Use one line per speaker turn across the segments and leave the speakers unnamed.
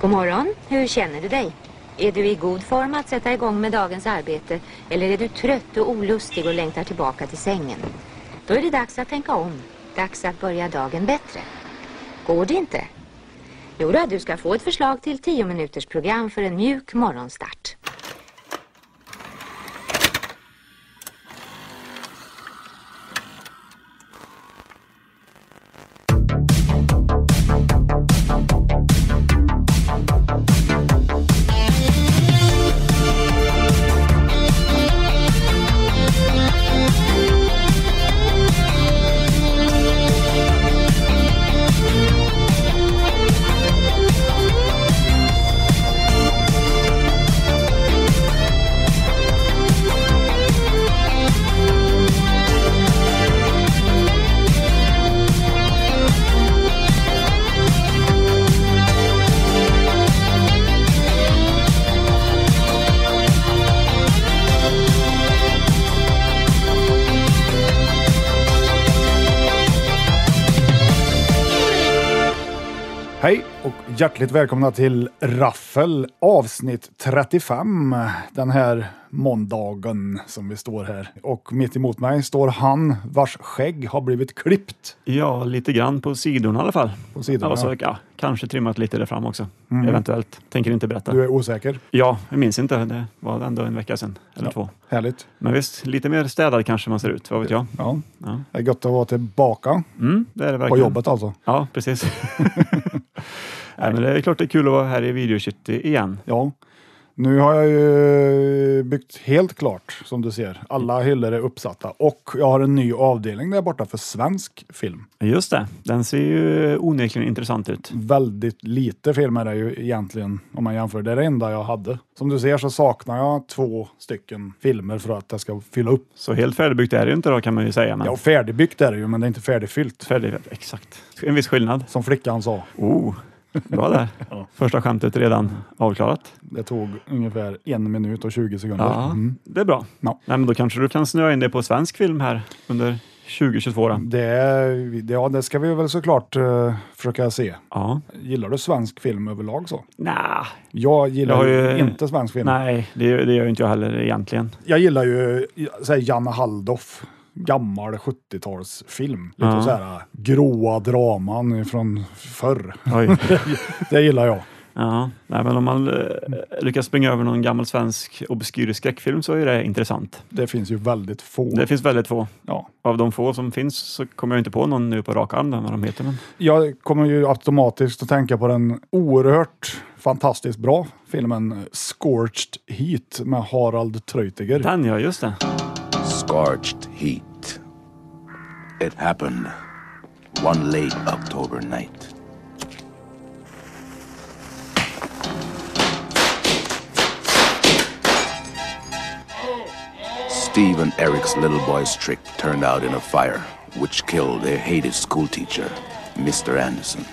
God morgon. Hur känner du dig? Är du i god form att sätta igång med dagens arbete eller är du trött och olustig och längtar tillbaka till sängen? Då är det dags att tänka om. Dags att börja dagen bättre. Går det inte? Jo då, du ska få ett förslag till 10 minuters program för en mjuk morgonstart.
Hej och hjärtligt välkomna till Raffel avsnitt 35 den här måndagen som vi står här. Och mitt emot mig står han vars skägg har blivit klippt.
Ja, lite grann på sidorna i alla fall.
På sidorna. Mm.
Alltså, ja, kanske trimmat lite där fram också. Eventuellt. Tänker inte berätta.
Du är osäker?
Ja, jag minns inte. Det var ändå en vecka sedan. Eller två.
Härligt.
Men visst, lite mer städad kanske man ser ut. Vad vet jag?
Ja.
Ja.
Det är gött att vara tillbaka
Mm, det är det verkligen.
på jobbet alltså.
Ja, precis. Nej, men det är klart det är kul att vara här i Videocity igen.
Ja. Nu har jag ju byggt helt klart som du ser. Alla hyllor är uppsatta och jag har en ny avdelning där borta för svensk film.
Just det, den ser ju onekligen intressant ut.
väldigt lite film är det ju egentligen om man jämför. Det är det enda jag hade. Som du ser så saknar jag två stycken filmer för att jag ska fylla upp.
Så helt färdigbyggt är det ju inte då kan man ju säga. Men
Ja, och färdigbyggt är det ju, men det är inte färdigfyllt.
färdigbyggt, exakt. En viss skillnad.
Som flickan sa,
Oh, bra där. Första skämtet redan avklarat.
det tog ungefär en minut och 20 sekunder.
Ja,
Mm.
det är bra.
Ja.
Nej, men då kanske du kan snöa in dig på svensk film här under 2022. Då.
Det, är- det, ja, det ska vi väl såklart uh, försöka se.
Ja.
Gillar du svensk film överlag så?
Nja,
Jag gillar
Jag har
ju
ju-
inte svensk film.
nej, det, det gör ju inte jag heller egentligen.
Jag gillar ju så här, Janne Halldoff, gammal 70-talsfilm. Lite
Ja.
så här gråa draman från förr.
Oj.
Det gillar jag.
Ja. Nej, men om man eh, lyckas springa över någon gammal svensk obskyr skräckfilm så är det intressant.
Det finns ju väldigt få.
Det finns väldigt få.
Ja.
Av de få som finns så kommer jag inte på någon nu på rak arm vad de heter. Men...
Jag kommer ju automatiskt att tänka på den oerhört fantastiskt bra filmen Scorched Heat med Harald Treutiger.
Den ja, just det.
Scorched heat. It happened one late October night. Steve and Eric's little boy's trick turned out in a fire, which killed their hated schoolteacher, Mr. Anderson.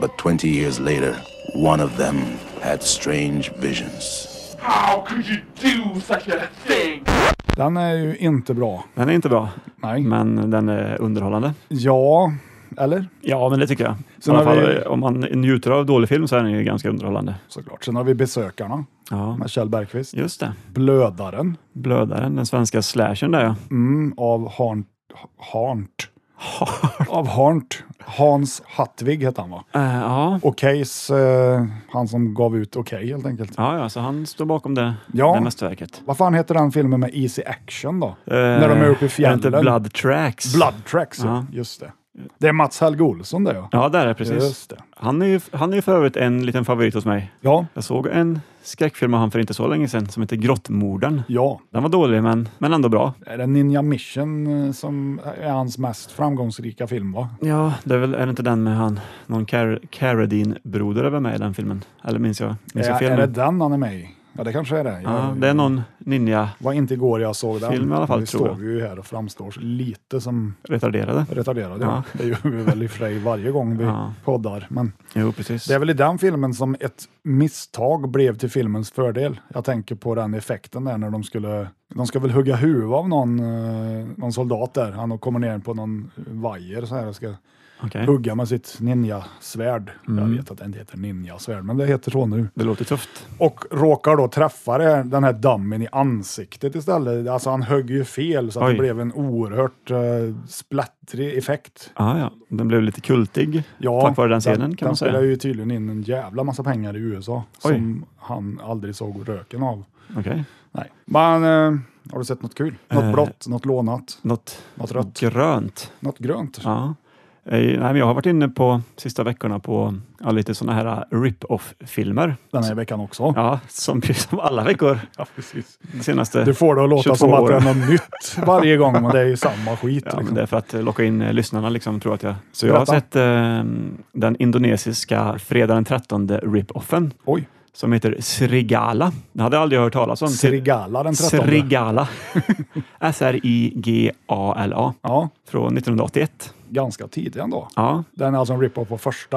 But 20 years later, one of them had strange visions.
How could you do such a thing?
Den är ju inte bra.
Den är inte bra,
Nej.
men den är underhållande.
Ja, eller?
Ja, men det tycker jag.
Sen
I alla
har
fall, eh,
vi-
Om man njuter av dålig film så är den ju ganska underhållande.
Såklart. Sen har vi Besökarna
Ja,
med Kjell Bergqvist.
just det.
Blödaren
Blödaren, den svenska slashern där ja.
Mm. av Harnt. Harnt. Av Harnt. Hans Hattvig hette han va?
Eh, ja.
Okejs, eh, han som gav ut Okej helt enkelt.
ja, ja, så han står bakom det,
Ja.
det mästerverket.
Vad fan heter den filmen med Easy Action då?
Eh,
När de är uppe i
är det inte
fjällen.
Blood Tracks.
Blood Tracks, ja.
Ja.
Just det. Det är Mats Helge Olsson det ja.
Ja, där är det, precis.
Just det.
Han är, ju, han är ju för övrigt en liten favorit hos mig.
Ja,
Jag såg en skräckfilm av han för inte så länge sedan som heter Grottmorden.
ja.
Den var dålig, men, men ändå bra.
Är det Ninja Mission eh, som är hans mest framgångsrika film va?
Ja, det är väl är det inte den med han, någon Car- Carradine-broder är väl med i den filmen? Eller minns jag, minns jag
Är,
fel?
är
nu?
det den han är med i? Ja det kanske är det.
ja,
Jag-
det är någon ninja
var inte igår jag såg den.
Film i alla fall,
Vi
tror jag.
står ju här och framstår lite som
retarderade.
retarderade.
Ja.
Det gör vi väl i och för sig varje gång vi
Ja.
poddar. Men
Jo, precis.
det är väl i den filmen som ett misstag blev till filmens fördel. Jag tänker på den effekten där när de skulle, de ska väl hugga huvud av någon, eh, någon soldat där. Han kommer ner på någon vajer så här och ska
Okej.
hugga med sitt ninja-svärd.
Mm.
Jag vet att det inte heter ninja-svärd, men det heter så nu.
Det låter tufft.
Och råkar då träffa det- den här dammen i ansiktet istället. Alltså han högg ju fel så att det
Oj.
blev en oerhört uh, splattrig effekt.
Ah, ja. Den blev lite kultig tack vare den scenen kan
den
man säga.
spelar ju tydligen in en jävla massa pengar i USA
Oj.
som han aldrig såg röken av.
Okej.
Nej. Men eh, har du sett något kul? Något
Eh.
blått, något lånat,
Något
något rött,
grönt.
något grönt?
Ja. Eh, Nej, men jag har varit inne på sista veckorna på ja, lite sådana här äh, rip-off-filmer.
Den här veckan också.
Ja, som, som alla veckor
Ja, precis.
de senaste.
Du får det att låta
22
som att det
Eh, år.
är något nytt varje gång, men det är ju samma skit.
Ja, men
liksom.
det är för att eh, locka in eh, lyssnarna liksom, tror jag att jag. Så jag har
Berätta.
sett eh, den indonesiska fredag den 13 rip-offen
Oj,
som heter Srigala. Det hade jag aldrig hört talas om.
Srigala den 13.
Srigala. S-R-I-G-A-L-A.
Ja,
Från 1981.
ganska tidig ändå.
Ja,
Den är alltså en rip-off på första.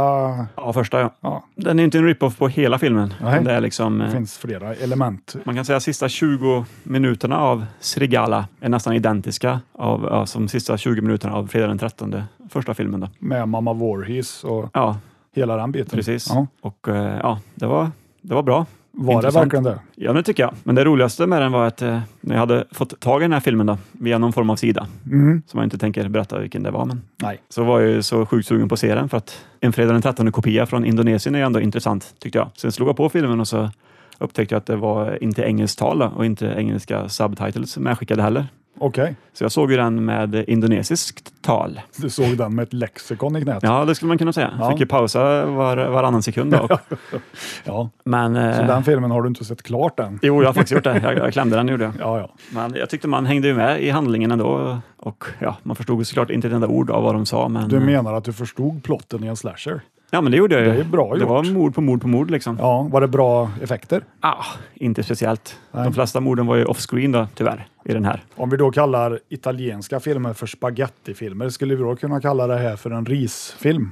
ja första ja.
Ja,
Den är inte en rip-off på hela filmen.
Nej.
Det är liksom,
det
eh,
finns flera element.
man kan säga sista 20 minuterna av Srigala är nästan identiska av, ja, som sista 20 minuterna av fredag den 13, första filmen. Då.
Med Mamma Voorhees och
Ja,
hela den biten.
Precis.
Ja.
Och eh, ja, det var, det var bra.
Var det
Intressant.
verkligen det?
Ja, det tycker jag. Men det roligaste med den var att eh, när jag hade fått tag i den här filmen då, via någon form av sida,
Mm.
som jag inte tänker berätta vilken det var, men
Nej.
så var jag ju så sjukt sugen på att se den för att en fredag den 13 kopia från Indonesien är ändå intressant tyckte jag. Sen slog jag på filmen och så upptäckte jag att det var inte engelsktal då, och inte engelska subtitles medskickade heller.
Okej,
Så jag såg ju den med indonesiskt tal.
du såg den med ett lexikon i knät.
Ja, det skulle man kunna säga.
Ja.
Fick ju pausa var, varannan sekund. Då.
Ja.
Men, eh,
Så den filmen har du inte sett klart än.
Jo, jag har faktiskt gjort det. Jag, jag klämde den, gjorde jag.
Ja, ja.
Men jag tyckte man hängde ju med i handlingen ändå. Och ja, man förstod såklart inte ett enda ord av vad de sa. Men,
Du menar att du förstod plotten i en slasher?
ja, men det gjorde jag ju.
Det är bra
det
gjort.
var mord på mord på mord liksom.
Ja, var det bra effekter?
Ah, inte speciellt.
Nej.
De flesta morden var ju off-screen då, tyvärr, i den här.
Om vi då kallar italienska filmer för spagettifilmer, skulle vi då kunna kalla det här för en risfilm?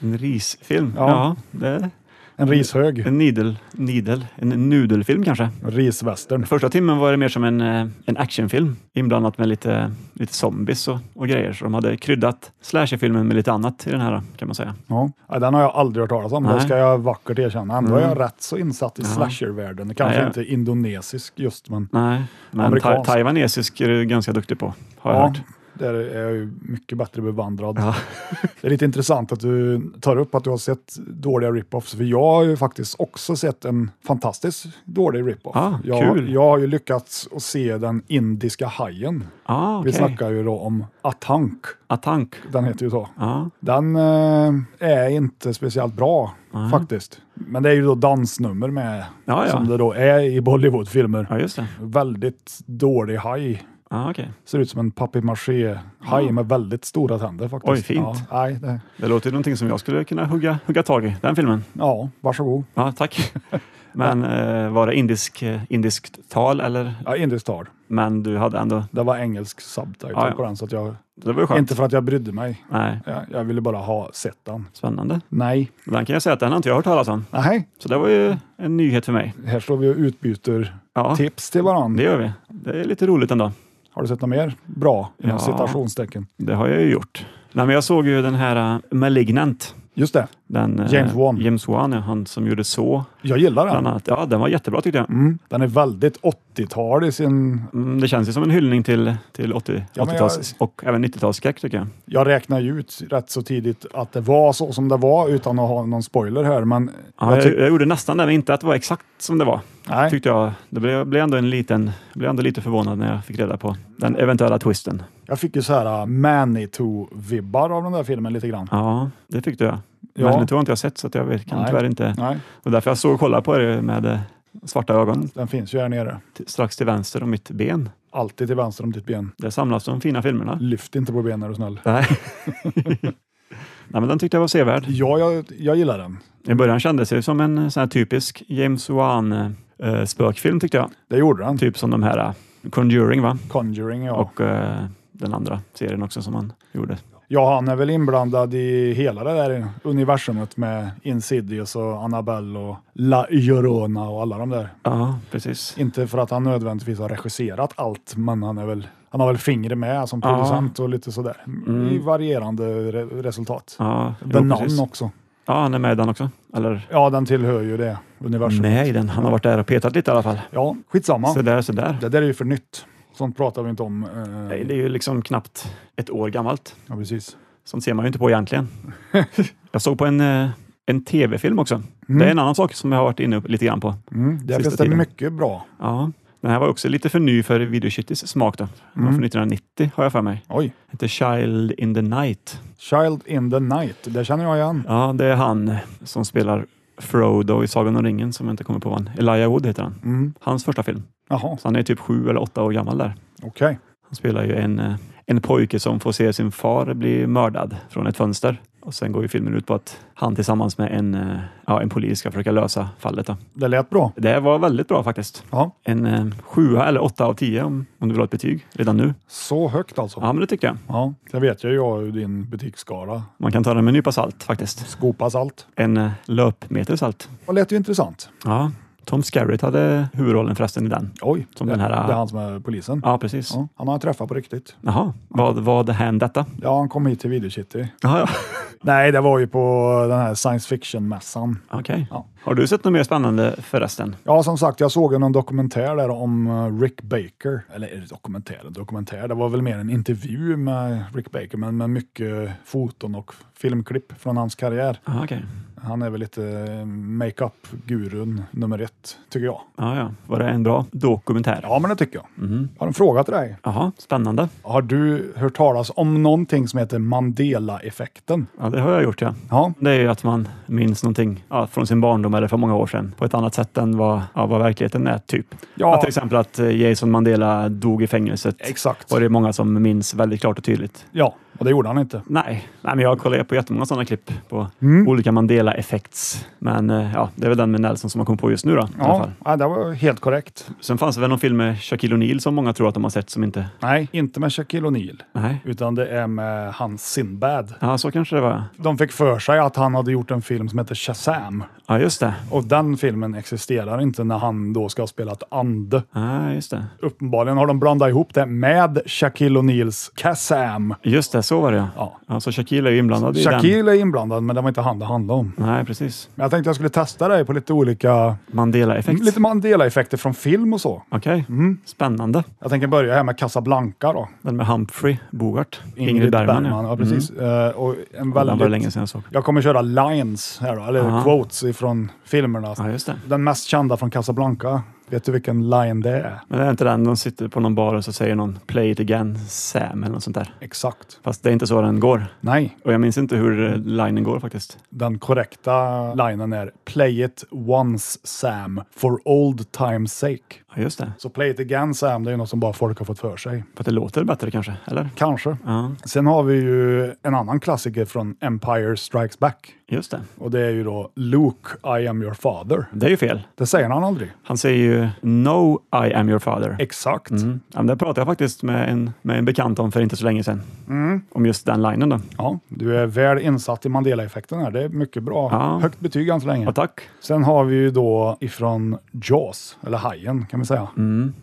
En risfilm.
Ja.
Ja, det är
En rishög?
en nidel, nidel, en nudelfilm kanske.
En risvästern?
Första timmen var det mer som en, eh, en actionfilm inblandat med lite, lite zombies och, och grejer. Så de hade kryddat slasherfilmen med lite annat i den här då, kan man säga.
Ja. Ja, den har jag aldrig hört talas om, det
Nej.
ska jag vackert erkänna. Ändå är jag
Mm.
rätt så insatt i
Ja.
slashervärlden. Kanske
Nej, jag-
inte indonesisk just, men
Nej, men
Amerikansk.
ta- taiwanesisk är du ganska duktig på, har jag
ja,
hört.
där är jag ju mycket bättre bevandrad.
Ja.
Det är lite intressant att du tar upp att du har sett dåliga rip-offs, för jag har ju faktiskt också sett en fantastiskt dålig rip-off.
Ah,
jag,
kul.
jag har ju lyckats att se den indiska hajen.
Ah,
Vi
okej.
snackar ju då om Atank,
Atank.
den heter ju så.
Ja,
Den eh, är inte speciellt bra faktiskt. Men det är ju då dansnummer med,
Ja, ja.
som det då är i Bollywoodfilmer.
ja just det.
Väldigt dålig haj.
Ah, okej.
Ser ut som en papier-maché-haj med väldigt stora tänder faktiskt.
Oj, fint.
Ja, nej, det,
Det låter ju någonting som jag skulle kunna hugga, hugga tag i, den filmen.
ja varsågod.
Ja, tack. Men eh, var det indisk, eh, indiskt tal eller?
Ja, Indiskt tal.
Men du hade ändå...
Det var engelsk subtitle
Ja, ja.
på den, så att jag,
Det var ju skönt.
inte för att jag brydde mig.
Nej,
Jag, jag ville bara ha sett den.
spännande.
Nej.
Den kan jag säga att den har inte jag hört talas om.
Nej,
Så det var ju en nyhet för mig.
här står vi och utbyter
Ja,
tips till varandra.
det gör vi. Det är lite roligt ändå.
Har du sett något mer bra? Inom
Ja.
citationstecken.
Det har jag ju gjort. Nej, men jag såg ju den här eh, Malignant.
Just det,
Den, eh,
James Wan.
James Wan, ja, han som gjorde så.
jag gillar den.
Bland annat. Ja, den var jättebra tyckte jag.
Mm. Den är väldigt 80-tal i sin...
Mm, det känns ju som en hyllning till, till 80,
Ja, men
80-tals och även 90-talsskräck tycker jag.
Jag räknar ju ut rätt så tidigt att det var så som det var utan att ha någon spoiler här, men...
Ja,
jag
jag,
tyck-
jag gjorde nästan det, men inte att det var exakt som det var.
nej,
Tyckte jag. Det blev, jag blev, ändå en liten, jag blev ändå lite förvånad när jag fick reda på den eventuella twisten.
jag fick ju så här uh, Manitou-vibbar av den där filmen lite grann.
Ja, det tyckte jag.
Ja.
Men det tror jag inte jag sett, så att jag vet, kan
Nej.
tyvärr inte.
Nej,
Och därför jag såg och kollade på det med eh, svarta ögon
den finns ju här nere.
t- strax till vänster om mitt ben.
Alltid till vänster om ditt ben.
Där samlas de fina filmerna.
Lyft inte på benen är du snäll.
Nej. Nej, men den tyckte jag var sevärd.
Ja, jag, jag gillar den.
I början kändes det som en eh, sån här typisk James Wan eh, spökfilm tyckte jag.
Det gjorde den.
Typ som de här eh, Conjuring va?
Conjuring, ja.
och eh, den andra serien också som han gjorde.
Ja, han är väl inblandad i hela det där universumet med Insidious och Annabelle och La Llorona och alla de där.
Ja, precis.
Inte för att han nödvändigtvis har regisserat allt, men han är väl Han har väl fingret med som
Ja. Mm.
producent och lite sådär. I varierande re- resultat.
Ja, jo,
The Nun
precis.
också.
Ja, han är med i den också. Eller
Ja, den tillhör ju det universumet.
med i den. Han har varit där och petat lite i alla fall.
Ja, skitsamma.
Så där, så där.
Det där är ju för nytt. Sånt pratar vi inte om. eh,
Nej, det är ju liksom knappt ett år gammalt.
Ja, precis.
Sånt ser man ju inte på egentligen. jag såg på en, eh, en tv-film också. Det är en annan sak som jag har varit inne lite grann på.
Mm, där
Sista
finns det
tiden.
mycket bra.
Ja, den här var också lite för ny för videokittis smak. Då. Den
Mm.
var från 1990 har jag för mig.
Oj,
Heter Child in the Night.
Child in the Night. Det känner jag igen.
Ja, det är han som spelar Frodo i Sagan om ringen som jag inte kommer på vad han. Elijah Wood heter han.
Mm.
Hans första film.
Jaha,
Så han är typ sju eller åtta år gammal där.
okej.
Han spelar ju en, eh, en pojke som får se sin far bli mördad från ett fönster. Och sen går ju filmen ut på att han tillsammans med en, eh, ja, en polis ska försöka lösa fallet. Då.
Det lät bra.
Det här var väldigt bra faktiskt.
Ja,
En eh, sjua eller åtta av tio om, om du vill ha ett betyg redan nu.
så högt alltså.
Ja, men det tycker jag.
Ja, sen vet jag ju jag hur din butiksskala
Man kan ta den med en nypa salt faktiskt.
skopas allt.
En eh, löpmeter salt.
Det lät ju intressant.
Ja, Tom Skerritt hade huvudrollen förresten i den.
Oj,
Som
det,
den här,
det är
ah.
han som är polisen.
Ja, precis.
Ja, han har jag träffat på riktigt.
Jaha, vad, vad hände detta?
Ja, han kom hit till Videokitty.
Jaha, ja.
Nej, det var ju på den här science fiction-mässan.
Okej.
Ja.
Har du sett något mer spännande förresten?
Ja, som sagt, jag såg en dokumentär där om eh, Rick Baker. Eller är det dokumentär? Dokumentär, det var väl mer en intervju med Rick Baker, men med mycket foton och filmklipp från hans karriär.
Ja, okej.
Han är väl lite eh, makeup-gurun nummer ett, tycker jag.
Ja, ja. Var det en bra dokumentär?
Ja, men det tycker jag.
Mhm.
Jag har en fråga till dig.
Jaha, spännande.
Har du hört talas om någonting som heter Mandela-effekten?
Ja, det har jag gjort ja.
Ja,
Det är ju att man minns någonting ja, från sin barndom eller för många år sedan på ett annat sätt än vad, ja, vad verkligheten är, typ.
Ja.
Att till exempel att eh, Jason Mandela dog i fängelset.
Exakt.
Och det är många som minns väldigt klart och tydligt.
ja, och det gjorde han inte.
Nej, nej men jag kollar ju på jättemånga sådana klipp på
Mm.
olika Mandela-effekts. Men eh, ja, det är väl den med Nelson som man kom på just nu då, i alla
Ja,
fall.
ja, det var helt korrekt.
Sen fanns det väl någon film med Shaquille O'Neal som många tror att de har sett som inte...
Nej, inte med Shaquille O'Neal,
Nej.
utan det är med hans Sinbad.
Ja, så kanske det var.
De fick för sig att han hade gjort en film som heter Shazam
Ja, just det.
och den filmen existerar inte när han då ska ha spelat ande.
Ja, just det.
Uppenbarligen har de blandat ihop det med Shaquille O'Neals Kazam.
Just det, så var det ja.
Ja.
Alltså Shaquille är ju inblandad i
Shaquille är inblandad, men det var inte han det handlade om.
den. Nej, precis.
Men jag tänkte jag skulle testa dig på lite olika
Mandela-effekt.
lite Mhm. Mandela-effekter från film och så.
Okej, spännande.
Jag tänker börja här med Casablanca då.
Den med Humphrey Bogart. Ingrid, Bergman. Mm.
Bergman, ja. precis. Eh, och en
Ja. Den var
väldigt...
länge sedan jag såg.
Jag kommer köra lines här då, eller
Aha.
quotes ifrån filmerna.
Ja, just det.
Den mest kända från Casablanca. Vet du vilken line det är?
Men det är inte den, de sitter på någon bar och så säger någon “Play it again, Sam” eller något sånt där.
Exakt.
Fast det är inte så den går.
Nej,
Och jag minns inte hur eh, linen går faktiskt.
den korrekta linen är “Play it once Sam, for old time's sake”.
Ja, just det.
Så “play it again Sam” det är ju något som bara folk har fått för sig.
För att det låter bättre kanske, eller?
Kanske.
Ja,
Sen har vi ju en annan klassiker från Empire Strikes Back.
just det.
Och det är ju då “Luke, I am your father”.
Det är ju fel.
Det säger han aldrig.
Han säger ju “No, I am your father”.
Exakt.
Mm. Ja, men det pratade jag faktiskt med en, med en bekant om för inte så länge sedan. Om just den linen då.
Ja, du är väl insatt i Mandela-effekten här. Det är mycket bra.
Ja.
Högt betyg än så länge.
Ja, tack.
Sen har vi ju då ifrån Jaws, eller Hajen kan vi säga.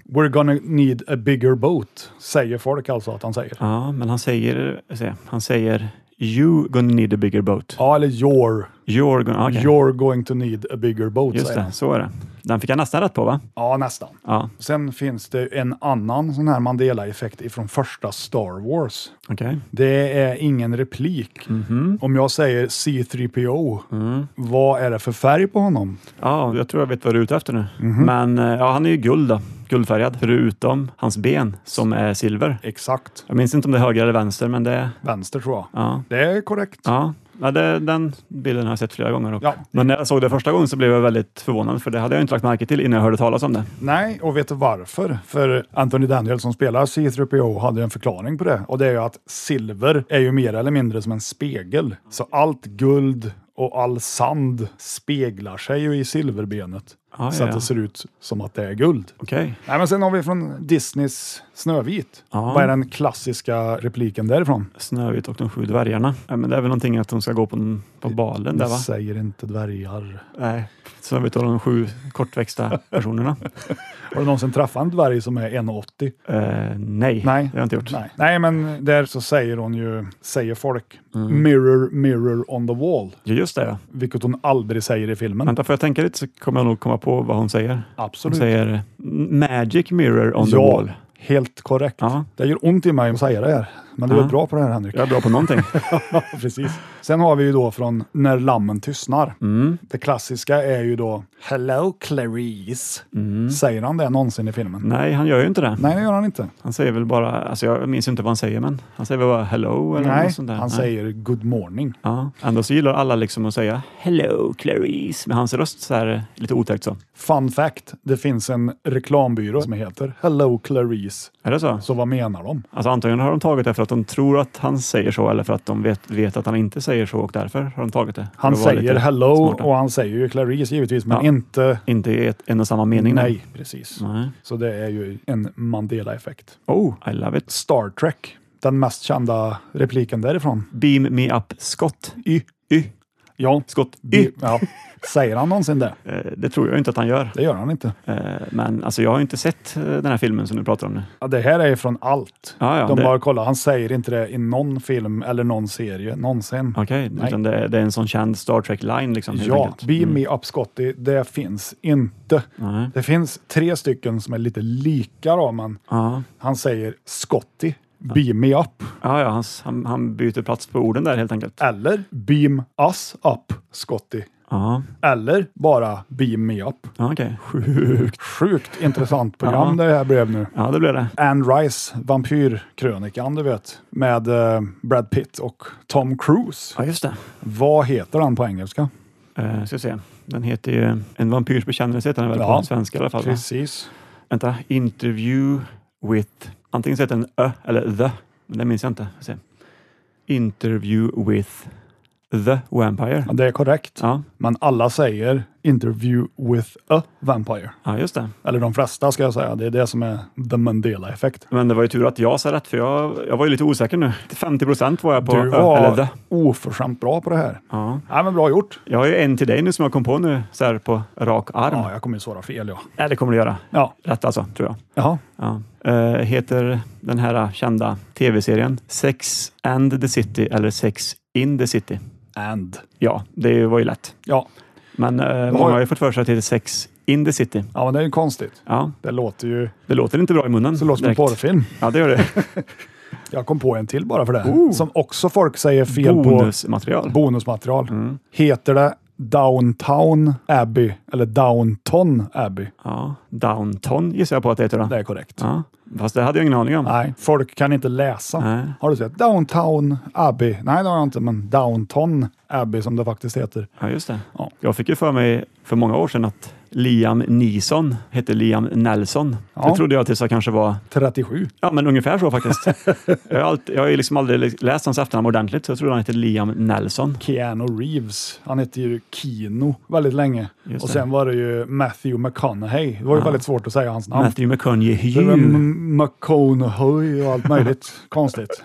We're gonna need a bigger boat, säger folk alltså att han säger.
Ja, men han säger, se, han säger You gonna need a bigger boat.
Ja, eller you're,
You're gonna... ah, okej.
you're going to need a bigger boat,
Just
säger
det,
han.
så är det. Den fick jag nästan rätt på va?
Ja, nästan.
Ja,
Sen finns det en annan sån här Mandela-effekt ifrån första Star Wars.
okej.
Det är ingen replik.
Mhm.
Om jag säger C3PO,
Mm.
vad är det för färg på honom?
Ja, jag tror jag vet vad du är ute efter nu. Men eh, ja, han är ju guld då. Guldfärgad. Förutom hans ben som är silver.
Exakt.
Jag minns inte om det är höger eller vänster, men det...
Vänster tror jag.
Ja.
Det är korrekt.
Ja, ja det, den bilden har jag sett flera gånger. Också.
Ja.
Men när jag såg det första gången så blev jag väldigt förvånad för det hade jag inte lagt märke till innan jag hörde talas om det.
Nej, och vet du varför? För Anthony Daniel som spelar C3PO hade ju en förklaring på det och det är ju att silver är ju mer eller mindre som en spegel. Så allt guld och all sand speglar sig ju i silverbenet.
ja,
så
Ah, ja.
att det ser ut som att det är guld.
Okej.
Nej, men sen har vi från Disneys Snövit.
Ja.
Vad är den klassiska repliken därifrån?
Snövit och de sju dvärgarna. Ja, men det är väl någonting att de ska gå på, den- på balen där va?
Säger inte dvärgar.
Nej. Snövit och de sju kortväxta personerna.
Har du någonsin träffat en dvärg som är 1,80?
Eh, nej,
Nej.
det har jag inte gjort.
Nej. Nej, men där så säger hon ju, säger folk,
Mm.
mirror, mirror on the wall,
Ja, just det ja.
vilket hon aldrig säger i filmen.
Vänta, får jag tänka lite så kommer jag nog komma på vad hon säger. Hon
Absolut.
säger Magic Mirror on the
ja,
wall.
helt korrekt.
Ja.
Det gör ont i mig att säga det här, men du
Ja.
är bra på det här Henrik.
Jag är bra på någonting.
Precis. Sen har vi ju då från När lammen tystnar.
Mm.
Det klassiska är ju då Hello Clarice.
Mm.
Säger han det någonsin i filmen?
nej, han gör ju inte det.
Nej, det gör han inte.
Han säger väl bara, alltså jag minns inte vad han säger, men han säger väl bara hello eller
Nej,
något sånt där.
han säger good morning.
Ja, ändå så gillar alla liksom att säga hello Clarice med hans röst så här eh, lite otäckt så.
Fun fact, det finns en reklambyrå som heter Hello Clarice.
Är det så?
Så vad menar de?
Alltså antagligen har de tagit det för att de tror att han säger så eller för att de vet, vet att han inte säger så och därför har de tagit det. För
Han
att vara
säger
lite
hello
smarta.
och han säger ju Clarice givetvis, men
Ja. Mm.
inte...
Inte i ett, en och samma mening. nej.
Nej, precis.
nej.
Så det är ju en Mandela-effekt.
Oh, I love it.
Star Trek, den mest kända repliken därifrån.
Beam me up Scott.
Y.
Y.
Ja,
Scott Y.
Vi- Ja. Säger han någonsin det?
Eh, Det tror jag inte att han gör.
Det gör han inte.
Eh, Men alltså, jag har inte sett eh, den här filmen som du pratar om nu.
Ja, det här är från allt.
Ja, ja,
De
det-
bara kollar, han säger inte det i någon film eller någon serie någonsin.
Okej,
Nej.
utan det, är- det är en sån känd Star Trek-line liksom. helt
Ja,
enkelt.
Beam Me Up Scotty, det finns inte.
Nej.
Det finns tre stycken som är lite lika då, men
Ja,
han säger Scotty, Beam Me Up,
ja, ja han, s- han, han byter plats på orden där helt enkelt.
eller Beam Us Up Scotty,
Ja,
eller bara Beam Me Up.
ja okej. Sjukt.
Sjukt intressant program
Ja.
det här blev nu.
Ja, det blev det.
Anne Rice, vampyrkrönikan, du vet, med eh, Brad Pitt och Tom Cruise.
Ja, just det.
Vad heter han på engelska?
Uh, ska vi se. Den heter ju En vampyrs bekännelse heter den väl
Ja.
på svenska i alla fall. va?
Precis.
Vänta, Interview with... Antingen så heter den Ö eller The, men det minns jag inte. Vi får se. Interview with The Vampire.
Ja, det är korrekt.
Ja,
Men alla säger interview with a vampire.
ja just det.
Eller de flesta ska jag säga. Det är det som är the Mandela-effekt.
Men det var ju tur att jag sa rätt, för jag, jag var ju lite osäker nu. 50 procent var jag på
Du
Ö eller The.
var oförskämt bra på det här.
Ja.
Ja, men bra gjort.
Jag har ju en till dig nu som jag kom på nu, så här på rak arm.
Ja, jag kommer ju svara fel ja.
Nej, det kommer du göra.
Ja,
Rätt alltså, tror jag.
Jaha.
Ja. Eh, heter den här kända tv-serien Sex and the City eller Sex in the City?
And.
Ja, det var ju lätt.
Ja.
Men eh, många har ju fått för sig att det heter Sex in the City.
ja, men det är ju konstigt.
Ja,
Det låter ju...
det låter inte bra i munnen.
Det låter som en
direkt.
porrfilm.
Ja, det gör det.
Jag kom på en till bara för det. Som också folk säger fel på.
Bonusmaterial.
bonusmaterial.
Mm.
Heter det Downtown Abbey eller Downton Abbey?
Ja, Downton gissar jag på att det heter då.
Det är korrekt.
Ja, fast det hade jag ingen aning om.
Nej, folk kan inte läsa.
Nej.
Har du sett Downtown Abbey? Nej, det har jag inte, men Downton Abbey som det faktiskt heter.
Ja, just det.
Ja.
Jag fick ju för mig för många år sedan att Liam Neeson hette Liam Nelson.
Ja.
Det trodde jag tills jag kanske var,
37.
ja men ungefär så faktiskt. jag, har alltid, jag har ju liksom aldrig läst hans efternamn ordentligt, så jag trodde han hette Liam Nelson.
Keanu Reeves, han hette ju Kino väldigt länge.
Just
Och
det.
sen var det ju Matthew McConaughey. Det var ju väldigt svårt att säga hans namn.
Matthew
Det var
McConaughey.
M- McConaughey och allt möjligt konstigt.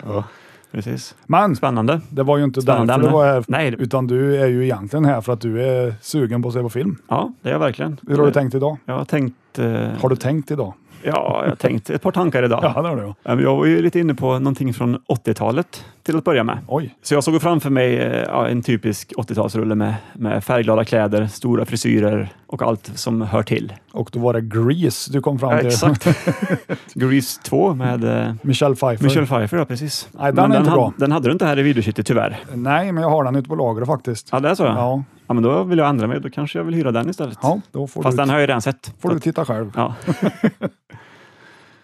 Precis.
Men
Spännande.
det var ju inte
Spännande
därför du
ämne.
var här.
Nej.
Utan du är ju egentligen här för att du är sugen på att se på film.
Ja, det är jag verkligen.
Hur har du tänkt idag?
Jag har tänkt, eh,
Har du tänkt idag?
ja, jag har tänkt ett par tankar idag.
Ja, det har du.
Eh, men Jag var ju lite inne på någonting från 80-talet till att börja med.
Oj.
Så jag såg framför mig eh, ja, en typisk 80-talsrulle med, med färgglada kläder, stora frisyrer och allt som hör till.
Och då var det Grease du kom fram
Ja,
till.
exakt. Grease 2 med eh,
Michelle Pfeiffer.
Michelle Pfeiffer, ja precis.
Nej, den
Men
är inte
han-
bra.
den hade du inte här i videokittet tyvärr.
Nej, men jag har den ute på lagret faktiskt.
Ja, det är så?
Ja.
ja, men då vill jag ändra mig. Då kanske jag vill hyra den istället.
Ja, då får,
Fast
du,
den har jag ju redan sett.
får du titta själv.
Ja.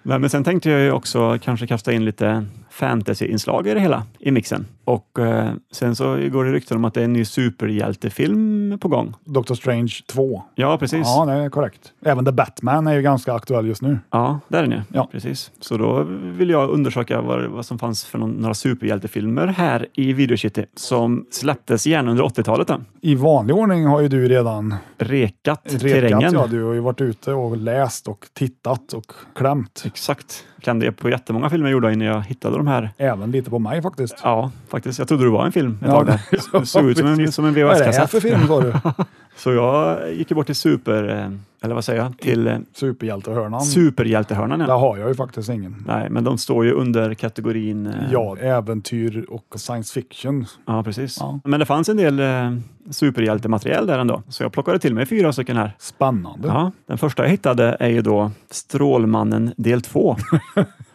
Nej, men sen tänkte jag ju också kanske kasta in lite fantasy-inslag i det hela, i mixen. Och eh, sen så går det rykten om att det är en ny superhjältefilm på gång.
Doctor Strange 2.
Ja, precis.
Ja, det är korrekt. Även The Batman är ju ganska aktuell just nu.
Ja, där är ni.
Ja.
Precis. Så då vill jag undersöka vad, vad som fanns för någon, några superhjältefilmer här i Videocity som släpptes gärna under 80-talet. Då.
I vanlig ordning har ju du redan
Rekat,
rekat.
terrängen.
Ja, du har ju varit ute och läst och tittat och klämt.
Exakt. Kan det på jättemånga filmer gjorda innan jag hittade de här.
Även lite på mig faktiskt.
Ja, faktiskt. Jag trodde det var en film ett
Ja,
tag. Där. Det såg ut som en,
precis.
som en
Vad är det här för
VHS-kassett.
film sa du?
Så jag gick ju bort till super... eh, Eller vad säger jag? Till eh,
Superhjältehörnan.
superhjältehörnan.
Där
Ja.
har jag ju faktiskt ingen.
Nej, men de står ju under kategorin... eh,
Ja, äventyr och science fiction.
Ja, precis.
Ja.
Men det fanns en del eh, superhjältematerial där ändå, så jag plockade till mig fyra stycken här.
Spännande. Ja.
Ja, den första jag hittade är ju då Strålmannen del 2.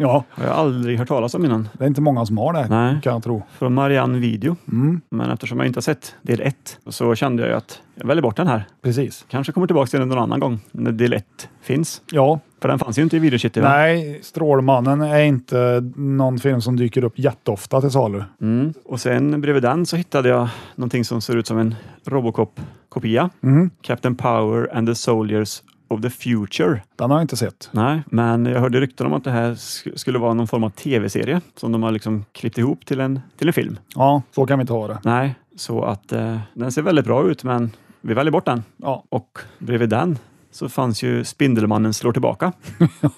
Har jag aldrig hört talas om innan.
det är inte många som har det
Nej.
kan jag tro.
Från Marianne Video.
Mm,
Men eftersom jag inte har sett del 1 så kände jag ju att jag väljer bort den här.
precis.
Kanske kommer tillbaka till den någon annan gång när del 1 finns.
Ja,
För den fanns ju inte i Videocity. va?
nej, Strålmannen är inte någon film som dyker upp jätteofta till salu.
Mm. Och sen bredvid den så hittade jag någonting som ser ut som en Robocop-kopia.
Mm,
Captain Power and the Soldiers of the Future.
den har jag inte sett.
Nej, men jag hörde rykten om att det här sk- skulle vara någon form av tv-serie som de har liksom klippt ihop till en, till en film.
Ja, så kan vi inte ha det.
Nej, så att eh, den ser väldigt bra ut, men vi väljer bort den.
Ja,
Och bredvid den så fanns ju Spindelmannen slår tillbaka.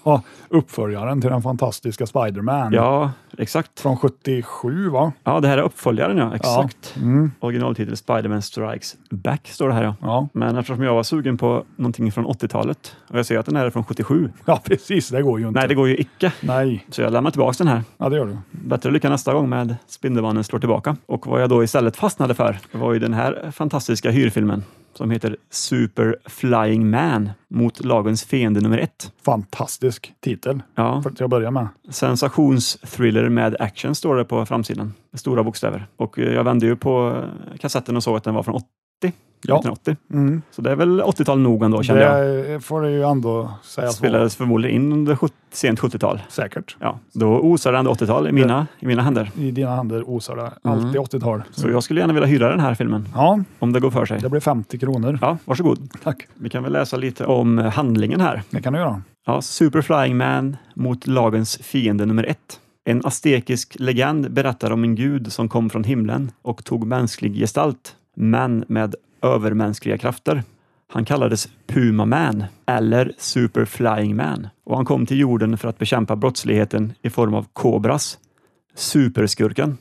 ja, uppföljaren till den fantastiska Spider-Man.
Ja, exakt.
Från 77 va?
Ja, det här är uppföljaren ja, exakt.
Ja. Mm,
Originaltitel Spiderman Strikes Back står det här ja.
ja.
Men eftersom jag var sugen på någonting från 80-talet och jag ser att den här är från 77.
ja, precis. Det går ju inte.
Nej, det går ju icke.
Nej.
Så jag lämnar tillbaka den här.
Ja, det gör du.
Bättre lycka nästa gång med Spindelmannen slår tillbaka. Och vad jag då istället fastnade för var ju den här fantastiska hyrfilmen som heter Super Flying Man mot lagens fiende nummer ett.
Fantastisk titel
Ja,
för att jag börjar med.
sensationsthriller med action står det på framsidan med stora bokstäver. Och eh, jag vände ju på eh, kassetten och såg att den var från 80,
Ja.
1980.
Mm.
Så det är väl 80-tal nog ändå kände jag.
Det får du ju ändå säga så.
Spelades förmodligen in under sjut- sent 70-tal.
Säkert.
Ja, då osar det ändå 80-tal i mina, i mina händer.
I dina händer osar det
Mm.
alltid 80-tal.
Så jag skulle gärna vilja hyra den här filmen
Ja,
om det går för sig.
det blir 50 kronor.
Ja, varsågod.
Tack.
Vi kan väl läsa lite om handlingen här.
Det kan du göra.
Ja, Super Flying Man mot lagens fiende nummer ett. En astekisk legend berättar om en gud som kom från himlen och tog mänsklig gestalt, men med övermänskliga krafter. Han kallades Puma Man eller Super Flying Man och han kom till jorden för att bekämpa brottsligheten i form av kobras, superskurken,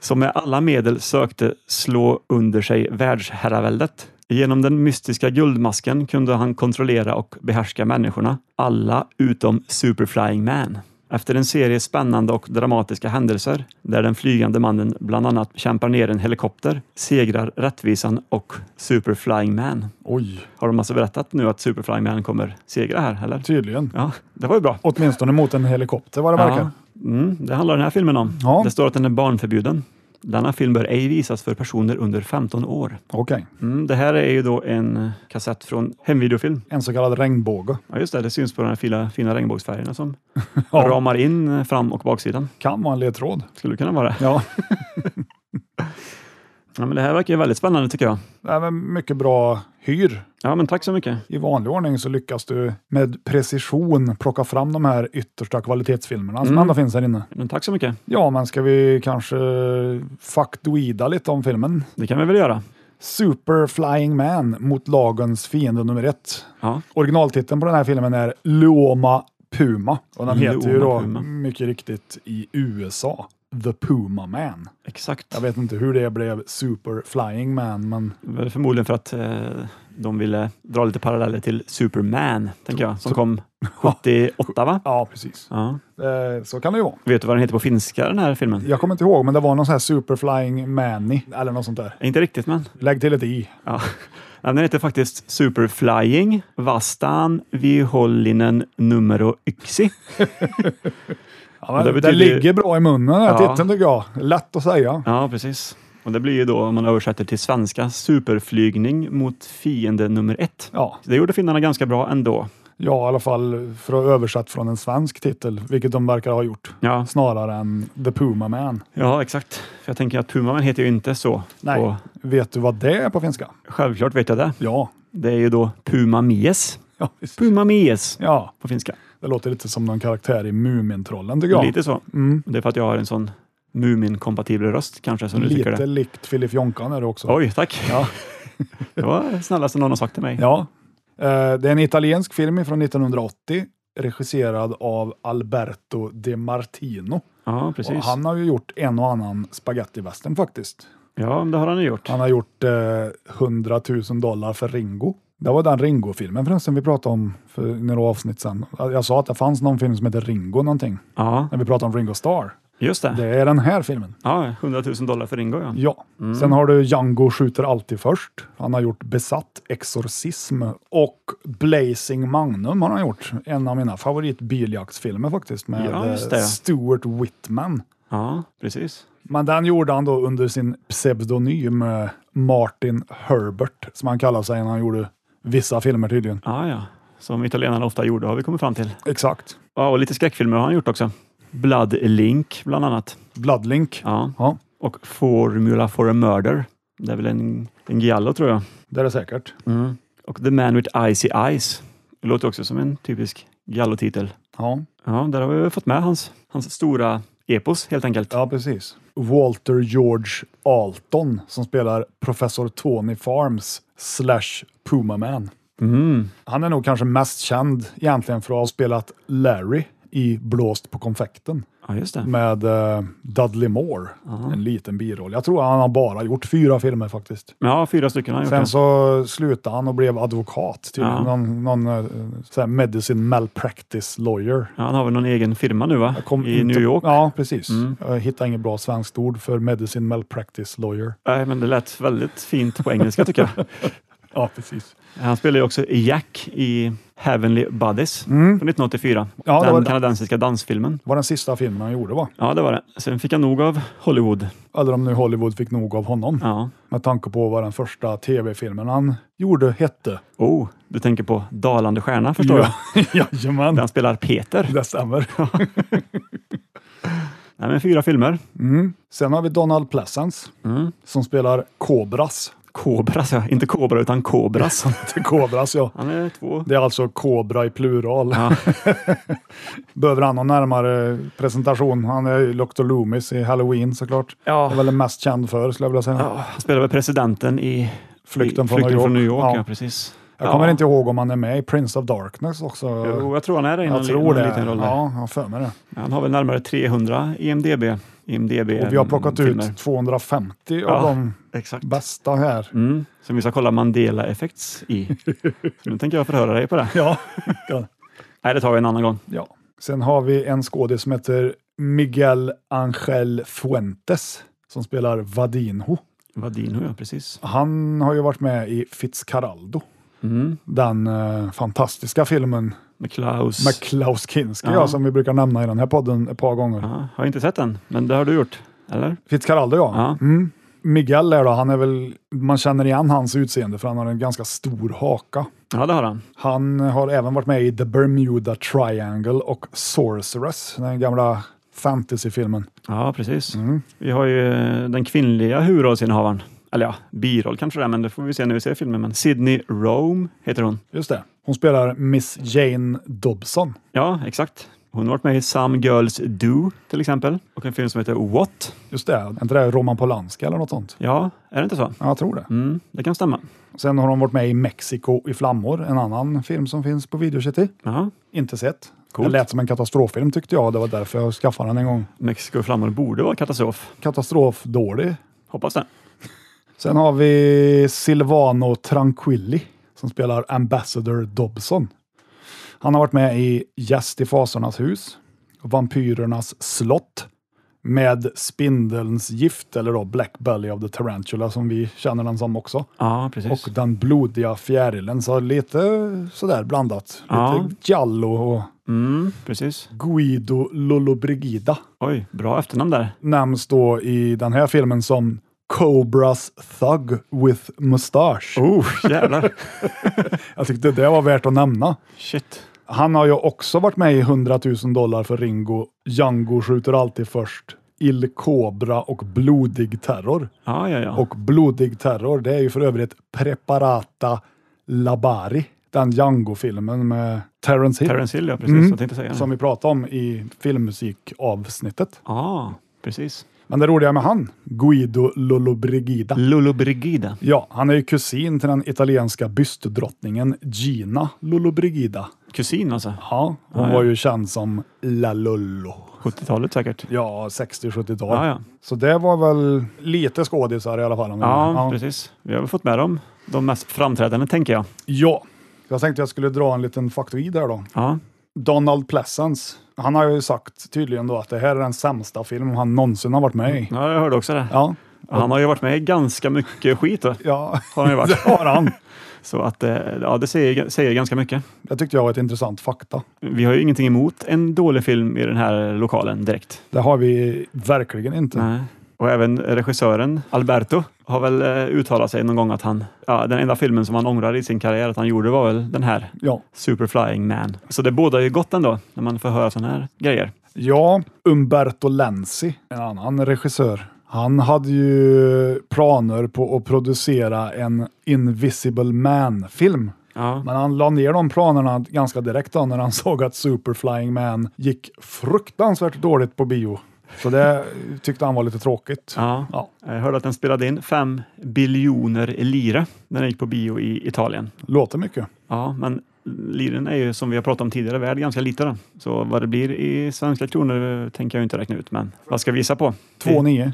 som med alla medel sökte slå under sig världsherraväldet. Genom den mystiska guldmasken kunde han kontrollera och behärska människorna, alla utom Superflying Man. Efter en serie spännande och dramatiska händelser, där den flygande mannen bland annat kämpar ner en helikopter, segrar rättvisan och Superflying Man.
Oj,
Har de alltså berättat nu att Superflying Man kommer segra här, eller?
tydligen.
Ja, det var ju bra.
Åtminstone mot en helikopter vad det verkar.
Ja. Mm, det handlar den här filmen om.
Ja.
Det står att den är barnförbjuden. Denna film bör ej visas för personer under 15 år.
Okej.
Mm, det här är ju då en kassett från hemvideofilm.
En så kallad regnbåge.
Ja, just det, det syns på de här fina, fina regnbågsfärgerna som
Ja.
ramar in eh, fram och baksidan.
Kan vara en ledtråd.
Skulle det kunna vara det.
Ja,
Ja, men det här verkar ju väldigt spännande tycker jag.
det är väl mycket bra hyr.
Ja, men tack så mycket.
I vanlig ordning så lyckas du med precision plocka fram de här yttersta kvalitetsfilmerna som
Mm.
ändå finns här inne.
Men tack så mycket.
Ja, men ska vi kanske faktoida lite om filmen?
Det kan vi väl göra.
Super Flying Man mot lagens fiende nummer ett.
Ja,
Originaltiteln på den här filmen är Luoma Puma och den heter ju
Luoma
då
Puma.
mycket riktigt i USA The Puma Man.
exakt.
Jag vet inte hur det blev Super Flying Man, men
Väl Förmodligen för att eh, de ville dra lite paralleller till Superman, tänker jag, som kom 78 va?
ja, precis.
Ja.
Eh, Så kan det ju vara.
Vet du vad den heter på finska, den här filmen?
Jag kommer inte ihåg, men det var någon sån här Super Flying Manny eller något sånt där.
Inte riktigt, men...
Lägg till ett i.
Ja. Ja, Den heter faktiskt Superflying Vastan Vihollinen Numero Yksi.
Ja, men
det
det,
betyder ju-
ligger bra i munnen den här
Ja.
titeln tycker jag. Lätt att säga.
Ja, precis. Och det blir ju då, om man översätter till svenska, superflygning mot fiende nummer ett.
Ja,
Det gjorde finnarna ganska bra ändå.
Ja, i alla fall för att översätta från en svensk titel, vilket de verkar ha gjort.
Ja,
Snarare än The Puma Man.
ja exakt. För jag tänker att Pumaman heter ju inte så.
Nej.
Och
Vet du vad det är på finska?
självklart vet jag det.
Ja.
Det är ju då Puma Mies.
Ja, visst.
Puma Mies
ja,
på finska.
det låter lite som någon karaktär i Mumintrollen tycker jag.
Lite så.
Mm.
Det är för att jag har en sån Mumin-kompatibel röst kanske som du tycker
Lite
det.
likt Filip Jonkan är det också.
Oj, tack.
Ja.
Det var det snällaste någon har sagt till mig.
Ja. Eh, Det är en italiensk film från 1980 regisserad av Alberto De Martino.
Ja,
Och
precis.
han har ju gjort en och annan spagettivästern faktiskt.
Ja, det har han ju gjort.
Han har gjort eh, 100 000 dollar för Ringo. Det var den Ringo-filmen förresten vi pratade om för några avsnitt sedan. Jag sa att det fanns någon film som heter Ringo någonting,
Ja,
när vi pratade om Ringo Starr.
just det.
Det är den här filmen.
Ja, 100 000 dollar för Ringo, ja.
Ja.
Mm.
Sen har du Django skjuter alltid först. Han har gjort Besatt, Exorcism och Blazing Magnum har han gjort. En av mina favoritbiljaktsfilmer faktiskt med
Ja,
eh,
just det.
Stuart Whitman.
Ja, precis.
Men den gjorde han då under sin pseudonym eh, Martin Herbert, som han kallade sig när han gjorde vissa filmer tydligen.
Ja, ja. Som italienarna ofta gjorde, har vi kommit fram till.
Exakt.
Ja, och lite skräckfilmer har han gjort också. Blood Link, bland annat.
Bloodlink.
Ja.
Ja,
Och Formula for a Murder. Det är väl en, en giallo, tror jag.
det är det säkert.
Och The Man with Icy Eyes. Det låter också som en typisk giallotitel.
Ja,
Ja, där har vi fått med hans, hans stora epos, helt enkelt.
ja precis. Walter George Alton som spelar professor Tony Farms slash Puma Man.
Mm.
Han är nog kanske mest känd egentligen för att ha spelat Larry i Blåst på konfekten
Ja, just det.
med eh, Dudley Moore. En liten biroll. Jag tror han har bara gjort fyra filmer faktiskt.
Ja, fyra stycken har han gjort.
Sen
ja.
så slutade han och blev advokat. Tydligen.
Ja.
Någon, någon eh, så här medicine malpractice lawyer.
Ja, han har väl någon egen firma nu, va?
Kom
I
inte-
New York. Mm.
Ja, precis. Jag hittade inget bra svenskt ord för medicine malpractice lawyer.
Nej, men det lät väldigt fint på engelska, tycker jag.
Ja, precis.
Han spelar ju också Jack i Heavenly Buddies från 1984.
Mm. Ja, det var
den
det.
kanadensiska dansfilmen.
var den sista filmen han gjorde va?
Ja, det var det. Sen fick han nog av Hollywood.
Eller om nu Hollywood fick nog av honom.
Ja.
Med tanke på vad den första tv-filmen han gjorde hette.
Oh, du tänker på Dalande stjärna, förstår jag.
jag. Jajamän,
Där han spelar Peter.
det stämmer.
Nej, men fyra filmer.
Sen har vi Donald Pleasence
Mm.
som spelar Kobras.
Kobras, ja. Inte Kobra, utan Kobras.
Till Kobras ja.
Han är två.
Det är alltså kobra i plural.
Ja.
Behöver han någon närmare presentation? Han är ju Dr. Loomis i Halloween såklart.
Ja.
Det är väl den mest känd för skulle jag vilja säga.
Ja, han spelar väl presidenten i
Flykten
i,
från
Flykten
New
från New
York.
York. Ja.
Ja.
precis.
Jag kommer
ja.
inte ihåg om han är med i Prince of Darkness också.
Jo, jag tror han är det i någon,
jag
li-
tror
någon
det.
liten roll. där.
Ja, jag har för mig det.
Han har väl närmare E 300 IMDB. IMDb
Och vi har plockat
filmer.
ut 250
Ja.
av de
Exakt.
bästa här.
Mm, som vi ska kolla Mandela Effects i. Så nu tänker jag förhöra dig på det.
Ja. ja.
Nej, det tar vi en annan gång.
ja. Sen har vi en skådis som heter Miguel Angel Fuentes som spelar Vadinho.
Vadino, ja precis.
Han har ju varit med i Fitzcarraldo. Den eh, fantastiska filmen
Mm. Med Klaus.
med Klaus Kinski,
Ja.
ja, som vi brukar nämna i den här podden ett par gånger.
ja, har inte sett den, men det har du gjort. Eller?
Fitzcarraldo, ja.
Ja.
Mm. Miguel är då, han är väl, man känner igen hans utseende för han har en ganska stor haka.
Ja, det har han.
Han har även varit med i The Bermuda Triangle och Sorceress, den gamla fantasyfilmen.
Ja, precis.
Mm.
Vi har ju eh, den kvinnliga huvudrollsinnehavaren. Eller ja, biroll kanske det är, men det får vi se när vi ser filmen. Men Sydney Rome heter hon.
Just det. Hon spelar Miss Jane Dobson.
Ja, exakt. Hon har varit med i Some Girls Do till exempel. Och en film som heter What.
Just det, är inte det Roman Polanski eller något sånt?
Ja, är det inte så?
Ja, jag tror det.
Mm, det kan stämma.
Sen har hon varit med i Mexiko i flammor, en annan film som finns på Video City.
Ja,
Inte sett.
Coolt.
Det lät som en katastroffilm tyckte jag, det var därför jag skaffade den en gång.
Mexiko i flammor borde vara katastrof.
Katastrofdålig.
Hoppas det.
Sen har vi Silvano Tranquilli som spelar Ambassador Dobson. Han har varit med i Gäst i Fasornas hus, Vampyrernas slott med Spindelns gift, eller då Black Belly of the Tarantula som vi känner den som också.
Ja, precis.
Och Den blodiga fjärilen, så lite sådär blandat.
Ja.
Lite Giallo och
Mm, precis.
Guido Lollobrigida
Oj, bra efternamn där.
nämns då i den här filmen som Cobras Thug with Mustache.
Oh, jävlar.
Jag tyckte det var värt att nämna.
Shit.
Han har ju också varit med i 100 000 dollar för Ringo, Django skjuter alltid först, Il Cobra och Blodig Terror.
Ja, ja, ja.
Och Blodig Terror, det är ju för övrigt Preparata Labari, den Django-filmen med Terence Hill
Terence Hill, ja, precis. Jag tänkte säga det.
Mm. som vi pratade om i filmmusikavsnittet.
Ja, precis.
Men det roliga med han, Guido Lollobrigida,
Lollobrigida.
ja, han är ju kusin till den italienska bystdrottningen Gina Lollobrigida.
Kusin alltså.
Ja, hon
Ja, ja.
var ju känd som La Lollo.
70-talet säkert.
Ja, 60-70-tal.
Ja, ja.
Så det var väl lite skådisar i alla fall. om jag
Ja,
menar. ja.
precis. Vi har väl fått med dem. De mest framträdande, tänker jag.
ja, jag tänkte jag skulle dra en liten faktoid här då.
Ja.
Donald Pleasence, han har ju sagt tydligen då att det här är den sämsta film han någonsin har varit med i.
ja, jag hörde också det.
Ja,
Han har ju varit med i ganska mycket skit, då,
ja.
har han ju varit.
det har han.
Så att, eh, ja, det säger, säger ganska mycket.
Det tyckte jag var ett intressant fakta.
Vi har ju ingenting emot en dålig film i den här lokalen direkt.
Det har vi verkligen inte.
Nej. Och även regissören Alberto har väl eh, uttalat sig någon gång att han, ja, den enda filmen som han ångrar i sin karriär att han gjorde var väl den här,
Ja.
Superflying Man. Så det bådar ju gott ändå, när man får höra sådana här grejer.
Ja, Umberto Lenzi, en annan regissör. Han hade ju planer på att producera en Invisible Man-film.
Ja,
Men han la ner de planerna ganska direkt då, när han såg att Super Flying Man gick fruktansvärt dåligt på bio. Så det tyckte han var lite tråkigt.
ja.
Ja,
Jag hörde att den spelade in fem biljoner lire när den gick på bio i Italien.
låter mycket.
Ja, men liren är ju som vi har pratat om tidigare värd ganska lite. Då. Så vad det blir i svenska kronor eh, tänker jag inte räkna ut, men vad ska vi gissa på?
2,9.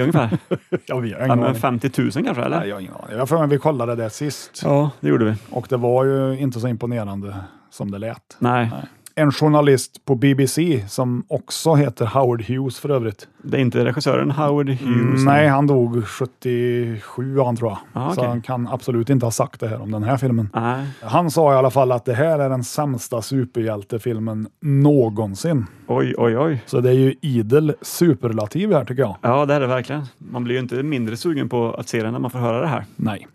ungefär?
Jag vet
ja,
ingen
men
aning.
50 000 kanske
Nej,
eller?
jag har ingen aning. Jag får vi kollade det sist
Ja, det gjorde vi.
och det var ju inte så imponerande som det lät.
Nej,
En journalist på BBC som också heter Howard Hughes för övrigt.
det är inte regissören Howard Hughes.
Mm, Nej, han dog 77 han tror jag.
Ah,
Så
okej.
han kan absolut inte ha sagt det här om den här filmen.
Nej.
Han sa i alla fall att det här är den sämsta superhjältefilmen någonsin.
Oj, oj, oj.
Så det är ju idel superlativ här tycker jag.
Ja, det är det verkligen. Man blir ju inte mindre sugen på att se den när man får höra det här.
Nej.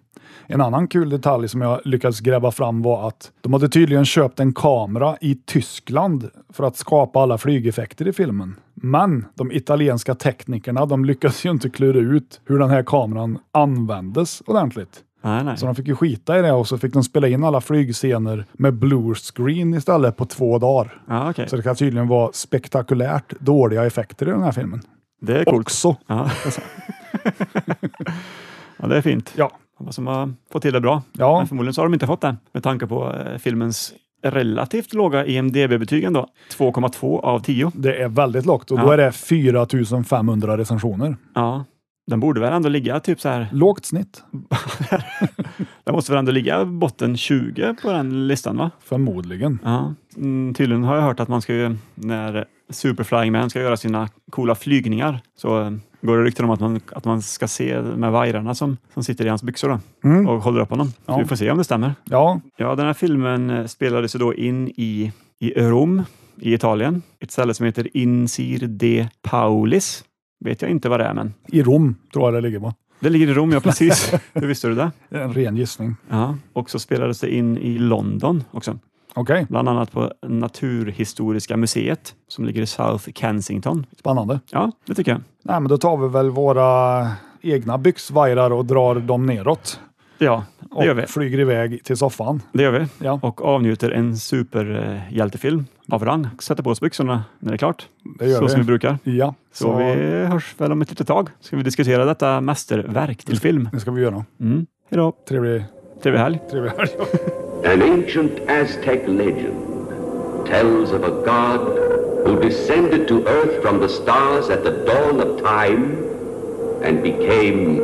En annan kul detalj som jag lyckades gräva fram var att de hade tydligen köpt en kamera i Tyskland för att skapa alla flygeffekter i filmen. Men de italienska teknikerna de lyckades ju inte klura ut hur den här kameran användes ordentligt.
Nej, nej.
Så de fick ju skita i det och så fick de spela in alla flygscener med blue screen istället på två dagar.
Ja, okej.
Så det kan tydligen vara spektakulärt dåliga effekter i den här filmen.
Det är coolt.
Också.
Ja. ja, det är fint.
Ja.
Vad som har fått till det bra.
Ja.
Men förmodligen så har de inte fått det med tanke på eh, filmens relativt låga E IMDB-betyg ändå. 2,2 av 10.
Det är väldigt lågt och då
Ja.
är det 4500 recensioner.
Ja. Den borde väl ändå ligga typ så här.
Lågt snitt,
Den måste väl ändå ligga botten 20 på den listan va?
förmodligen.
Ja. Mm, tydligen har jag hört att man ska ju, när Superflying Man ska göra sina coola flygningar, så eh, går det rykten om att man, att man ska se med vajrarna som, som sitter i hans byxor då,
Mm.
och håller upp honom.
Ja.
Så vi får se om det stämmer.
Ja,
Ja, den här filmen eh, spelades ju då in i, i Rom i Italien. Ett ställe som heter Insir de Paulis. Vet jag inte vad det är, men
i Rom tror jag det ligger va?
det ligger i Rom, ja precis. Hur visste du det?
En ren gissning.
Ja, och så spelades det in i London också.
Okej,
Bland annat på Naturhistoriska museet som ligger i South Kensington.
spännande.
Ja, det tycker jag.
Nej, men då tar vi väl våra egna byxvajrar och drar dem neråt.
Ja,
Och
det gör vi.
flyger iväg till soffan.
Det gör vi.
Ja.
Och avnjuter en superhjältefilm av rang. Sätter på oss byxorna när det är klart.
Det gör
så
vi.
som vi brukar.
Ja,
Så, vi hörs väl om ett litet tag. Ska vi diskutera detta mästerverk till film.
det ska vi göra.
Mm. Hej då!
Trevlig,
Trevlig helg!
trevlig helg.
An ancient Aztec legend tells of a god who descended to earth from the stars at the dawn of time and became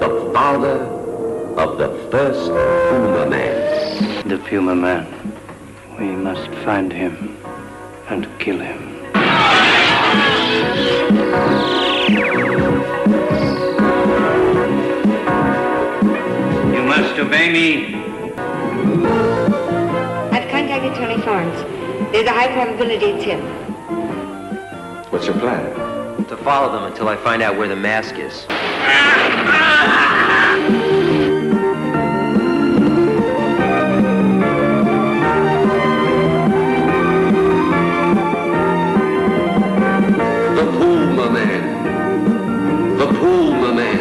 the father of the first Puma man.
The Puma Man. We must find him and kill him. You must obey me.
I've contacted Tony Florence. There's a high probability it's him.
What's your plan?
to follow them until I find out where the mask is.
The Puma Man. The Puma Man.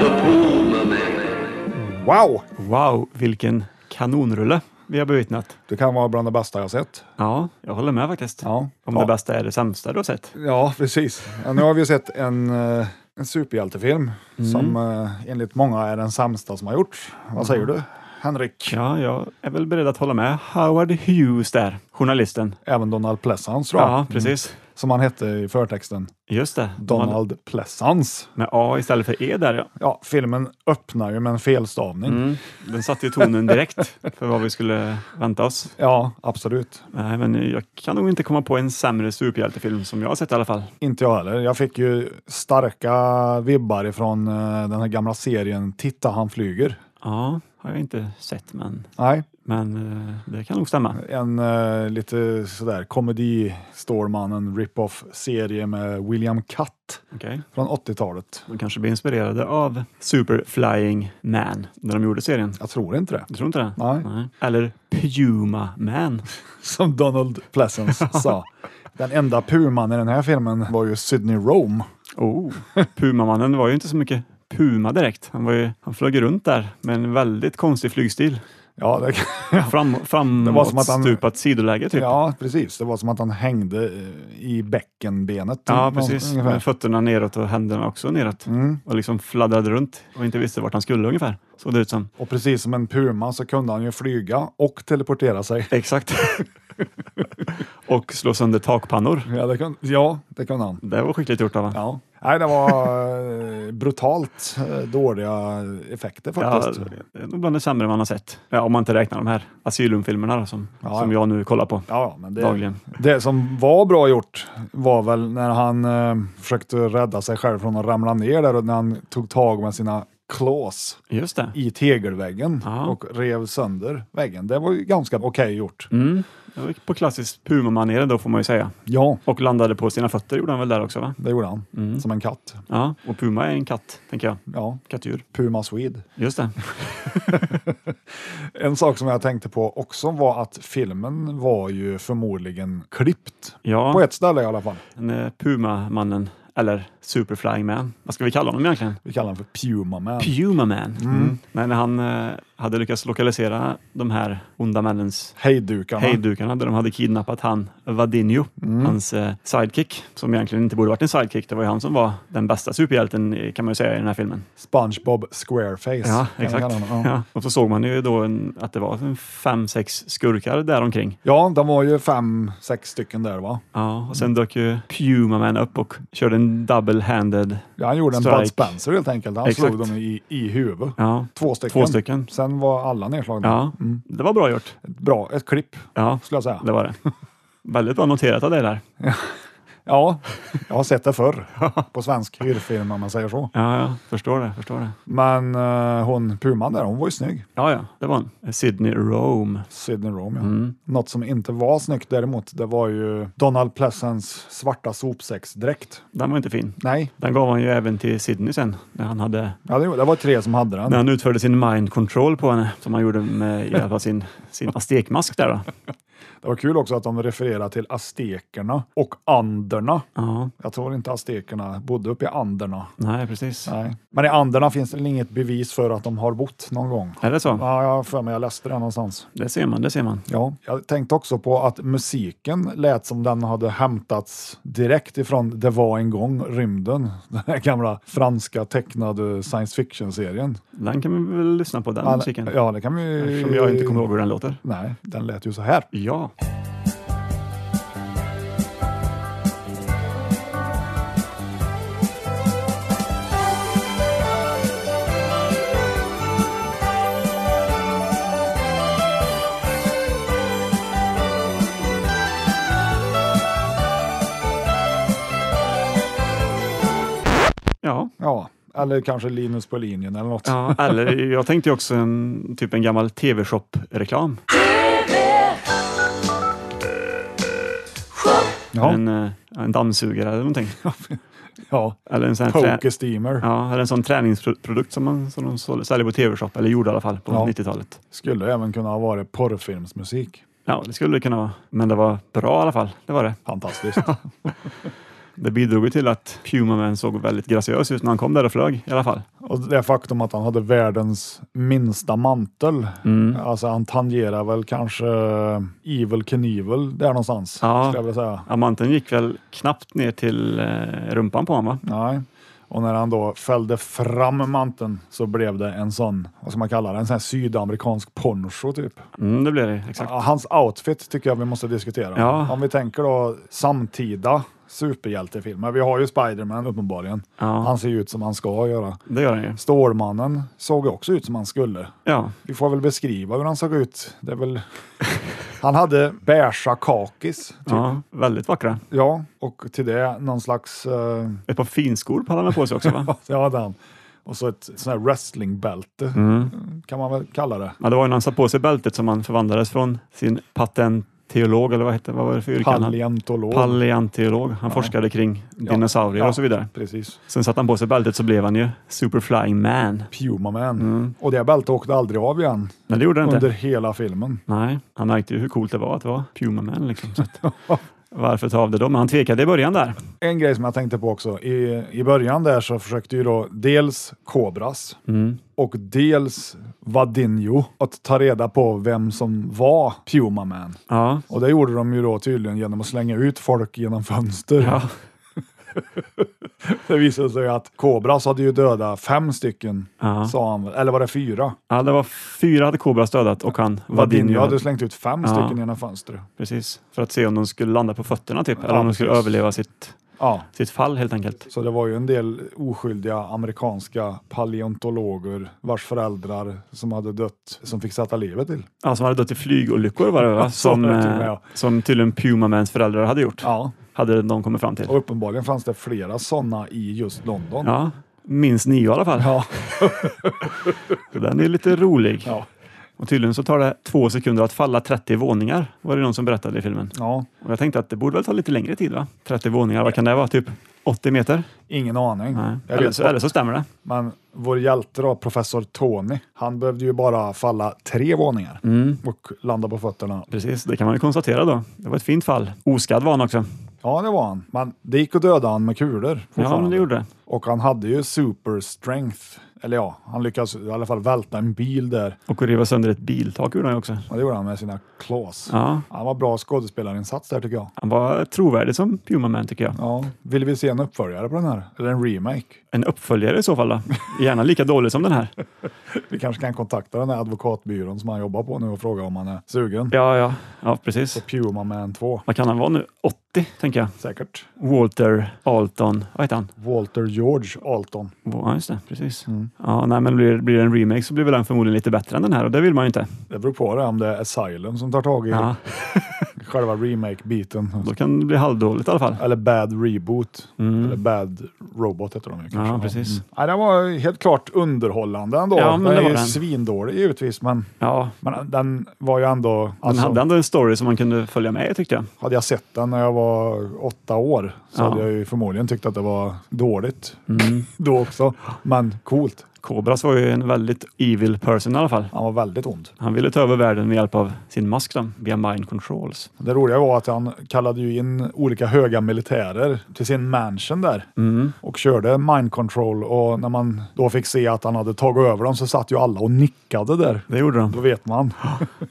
The Puma Man.
Wow!
Wow, vilken kanonrulle vi har bevittnat.
Det kan vara bland det bästa jag sett.
Ja, jag håller med faktiskt.
Ja.
Om
Ja.
det bästa är det sämsta du har sett.
Ja, precis. Ja, nu har vi sett en, eh, en superhjältefilm
Mm.
som eh, enligt många är den sämsta som har gjorts. Vad säger du, Henrik?
Ja, jag är väl beredd att hålla med Howard Hughes där, journalisten.
Även Donald Pleasance, tror jag.
Ja, precis.
Som han hette i förtexten.
Just det.
Donald Pleasance.
Med A istället för E där ja.
Ja, filmen öppnar ju med en felstavning.
Mm. Den satte ju tonen direkt för vad vi skulle vänta oss.
Ja, absolut.
Nej, men jag kan nog inte komma på en sämre superhjältefilm som jag har sett i alla fall.
Inte jag heller. Jag fick ju starka vibbar ifrån eh, den här gamla serien Titta han flyger.
Ja, har jag inte sett, men,
Nej,
men eh, det kan nog stämma.
en eh, lite sådär komedi-Stålmannen rip-off-serie med William Catt
Okej.
från 80-talet.
De kanske blir inspirerade av Super Flying Man när de gjorde serien.
Jag tror inte det.
Du tror inte det?
Nej.
Eller Puma Man.
Som Donald Pleasence sa. Den enda puman i den här filmen var ju Sydney Rome.
Oh. Pumamannen var ju inte så mycket Puma direkt. Han, var ju, han flög runt där med en väldigt konstig flygstil.
Ja, det,
Fram, framåtstupat
han-
sidoläge typ.
ja, precis. Det var som att han hängde eh, i bäckenbenet.
Ja,
Någon-
precis.
ungefär. Mm.
Med fötterna neråt och händerna också neråt. Och liksom fladdrade runt och inte visste vart han skulle ungefär. Såg det ut som.
Och precis som en puma så kunde han ju flyga och teleportera sig.
Exakt. och slå sönder takpannor.
Ja, det kunde, ja, det kunde han.
Det var skickligt gjort av honom.
Ja. Nej, det var eh, brutalt eh, dåliga effekter
Ja,
faktiskt. Ja,
det är nog bland det sämre man har sett. Ja, om man inte räknar de här asylumfilmerna då, som,
Ja,
som
ja.
jag nu kollar på
ja, men det,
dagligen.
det som var bra gjort var väl när han eh, försökte rädda sig själv från att ramla ner där och när han tog tag med sina claws
Just det.
i tegelväggen
Ja.
och rev sönder väggen. Det var ju ganska okej gjort.
Mm. Det var på klassiskt Puma-manér då får man ju säga.
Ja,
Och landade på sina fötter gjorde han väl där också va?
det gjorde han.
Mm.
Som en katt.
Ja, och Puma är en katt, tänker jag.
Ja,
Kattdjur.
Puma Swede.
Just det.
En sak som jag tänkte på också var att filmen var ju förmodligen klippt. På
Ja,
ett ställe i alla fall.
den är Puma-mannen. Eller Superflying Man. Vad ska vi kalla honom egentligen?
Vi kallar den för Puma Man.
Puma Man. Mm. Nej, när han eh, hade lyckats lokalisera de här onda männens
Hejdukarna.
hejdukarna där de hade kidnappat han Vadinho, hans eh, sidekick, som egentligen inte borde varit en sidekick. Det var ju han som var den bästa superhjälten eh, kan man ju säga i den här filmen.
SpongeBob Squareface.
Ja,
kan vi
exakt.
kalla honom. Ja.
Ja. Och så såg man ju då en, att det var en fem, sex skurkar däromkring.
ja, de var ju fem, sex stycken där va?
Ja, och sen dök ju Puma Man upp och körde en double-handed.
Ja, han gjorde en
Strike.
Bud Spencer helt enkelt. Han
Exakt.
slog dem i, i huvudet.
Ja, Mm.
Två stycken.
två stycken.
Sen var alla nedslagna.
Ja, det var bra gjort.
Bra, ett klipp
Ja,
skulle jag säga.
det var det. Väldigt bra noterat av dig där.
Ja, jag har sett det förr på svensk hyrfilm om man säger så.
Ja, ja, förstår det, förstår det.
Men eh, hon Puman där, hon var ju snygg.
Ja, ja, det var han. Sydney Rome.
Sydney Rome, ja. Något som inte var snyggt däremot, det var ju Donald Pleasants svarta sopsäcksdräkt.
Den var inte fin.
Nej,
Den gav han ju även till Sydney sen när han, hade,
ja, det det var tre som hade den.
när han utförde sin mind control på henne som han gjorde med hjälp av sin, sin aztekmask där då.
Det var kul också att de refererar till aztekerna och anderna.
Ja,
Jag tror inte aztekerna bodde uppe i anderna.
nej precis.
Nej. Men i anderna finns det inget bevis för att de har bott någon gång.
Är det så?
Ja, jag har för mig jag läste det någonstans.
Det ser man, det ser man.
Ja. Jag tänkte också på att musiken lät som den hade hämtats direkt ifrån Det var en gång, rymden. Den här gamla franska tecknade science fiction-serien.
Den kan vi väl lyssna på, den
Ja,
Mm, musiken.
Ja, det kan vi...
Eftersom jag inte kommer ihåg hur den låter.
Nej, den lät ju så här.
Ja. Ja,
Ja, eller kanske Linus på linjen eller något.
ja, eller jag tänkte ju också en, typ en gammal TV-shop-reklam.
Ja.
En, eh, en dammsugare eller någonting.
Ja,
Eller en sån här trä-
Poker Steamer
Ja, eller en sån träningsprodukt som, man, som de sål- säljer på tv-shop, eller gjorde i alla fall på
Ja.
90-talet.
skulle även kunna ha varit porrfilmsmusik.
Ja, det skulle det kunna vara. Men det var bra i alla fall. Det var det.
Fantastiskt.
Det bidrog ju till att Puma Man såg väldigt graciös ut när han kom där och flög i alla fall.
Och det faktum att han hade världens minsta mantel.
Mm.
Alltså han tangerar väl kanske Evil Knievel där någonstans.
Ja.
Skulle jag vilja säga.
Amanten gick väl knappt ner till eh, rumpan på honom va?
Nej. Och när han då fällde fram manteln så blev det en sån, vad ska man kalla det, en sån här sydamerikansk poncho typ.
Mm, det blev det, exakt.
Ja, Hans outfit tycker jag vi måste diskutera.
Ja.
Om vi tänker då samtida superhjältefilmer. Vi har ju Spiderman uppenbarligen. Han ser ju ut som han ska göra.
Det gör han ju.
Stålmannen såg också ut som han skulle.
Ja,
Vi får väl beskriva hur han såg ut. Det är väl... Han hade beiga kakis. Typ. Ja.
ja väldigt vackra.
och till det någon slags... eh,
Ett par finskor hade han på sig också va?
ja, det hade han. Och så ett sån här wrestlingbälte,
Mm.
kan man väl kalla det.
Ja, det var ju när han satte på sig bältet som han förvandlades från sin patentteolog, eller vad, hette, vad var det för yrke? han hade?
Paleontolog.
Paleontolog. Han forskade kring dinosaurier
Ja.
och så vidare.
Precis.
Sen satte han på sig bältet så blev han ju Super Flying Man.
Puma Man. Och det bältet åkte aldrig av igen
Nej, det gjorde han Mm. inte.
under hela filmen.
Nej, han märkte ju hur coolt det var att vara Puma Man. Liksom, så att, varför ta av det då? Men han tvekade i början där.
En grej som jag tänkte på också. I, i början där så försökte ju då dels Kobras
Mm.
och dels Vadinho att ta reda på vem som var Puma Man.
Ja,
Och det gjorde de ju då tydligen genom att slänga ut folk genom fönster.
ja,
Det visade sig att Kobras hade ju dödat fem stycken,
Ja.
sa han väl. Eller var det fyra?
ja det var fyra hade Kobra stödat och han
Vadinho
Vadinho.
hade slängt ut fem
Ja.
stycken genom fönstret.
Precis, för att se om de skulle landa på fötterna typ, eller
Ja,
om de skulle
precis.
överleva sitt,
Ja,
sitt fall helt enkelt.
så det var ju en del oskyldiga amerikanska paleontologer vars föräldrar som hade dött, som fick sätta livet till.
Ja, som hade dött i flygolyckor var det va?
så
Som,
var det till och med,
eh,
ja.
som tydligen Puma Mans föräldrar hade gjort.
Ja,
Hade de kommit fram till.
och uppenbarligen fanns det flera sådana i just London.
Ja, minst nio i alla fall.
Ja.
Så Den är lite rolig.
Ja.
Och tydligen så tar det två sekunder att falla 30 våningar, var det någon som berättade i filmen.
Ja,
Och jag tänkte att det borde väl ta lite längre tid va? 30 våningar, vad kan det vara? Typ 80 meter?
ingen aning.
Nej.
Jag
Eller,
vet
så,
bara-
eller så stämmer det.
Men vår hjälte då, professor Tony, han behövde ju bara falla tre våningar
Mm.
och landa på fötterna.
Precis, det kan man ju konstatera då. Det var ett fint fall. Oskadd var han också.
Ja, det var han. Men det gick att döda han med kulor.
Ja, men
fortfarande.
det gjorde det.
Och han hade ju super strength. Eller ja, han lyckades i alla fall välta en bil där.
Och riva sönder ett biltak gjorde han ju också.
Ja, det gjorde han med sina claws.
Ja,
Han var bra skådespelarinsats där tycker jag.
han var trovärdig som Puma Man tycker jag.
Ja, vill vi se en uppföljare på den här? Eller en remake?
En uppföljare i så fall då. Gärna lika dålig som den här.
Vi kanske kan kontakta den här advokatbyrån som han jobbar på nu och fråga om han är sugen.
Ja, ja, ja precis.
Puma Man 2,
Vad kan han vara nu? 80, tänker jag.
säkert.
Walter Alton, vad heter han?
Walter George Alton.
Ja, just det. Precis. Ja, nej, men blir, blir det en remake så blir väl den förmodligen lite bättre än den här och det vill man ju inte.
Det beror på det, om det är Asylum som tar tag i
Ja,
själva remake-biten.
då kan det bli halvdåligt i alla fall.
Eller Bad Reboot. Eller Bad Robot heter de ju kanske.
Mm. Ja, precis.
Mm. Nej, den var helt klart underhållande ändå.
Ja, men
den
det
är
var
ju
den.
svindålig givetvis, men,
Ja,
men den var ju ändå...
den
Alltså,
hade ändå en story som man kunde följa med i, tyckte jag.
Hade jag sett den när jag var åtta år så
Ja. Mm.
hade jag ju förmodligen tyckt att det var dåligt då också. Men coolt.
Kobras var ju en väldigt evil person i alla fall.
Han var väldigt ond.
Han ville ta över världen med hjälp av sin mask då, via mind controls.
Det roliga var att han kallade ju in olika höga militärer till sin mansion där
Mm.
och körde mind control och när man då fick se att han hade tagit över dem så satt ju alla och nickade där.
Det gjorde
Då
de.
vet man.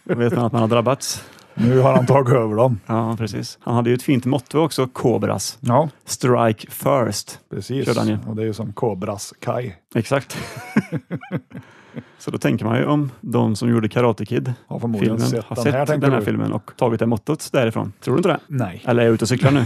Då vet man att man har drabbats.
Nu har han tagit över dem.
Ja, precis. Han hade ju ett fint motto också, Kobras.
Ja,
Strike first.
precis.
Körde han ju.
Och det är ju som Kobras Kai.
Exakt. Så då tänker man ju om de som gjorde Karate Kid
Har förmodligen
filmen
sett
har
den
sett
här, tänker
den här
du? Mm.
filmen och tagit det mottot därifrån. Tror du inte det?
Nej,
Eller är jag ute och cyklar nu?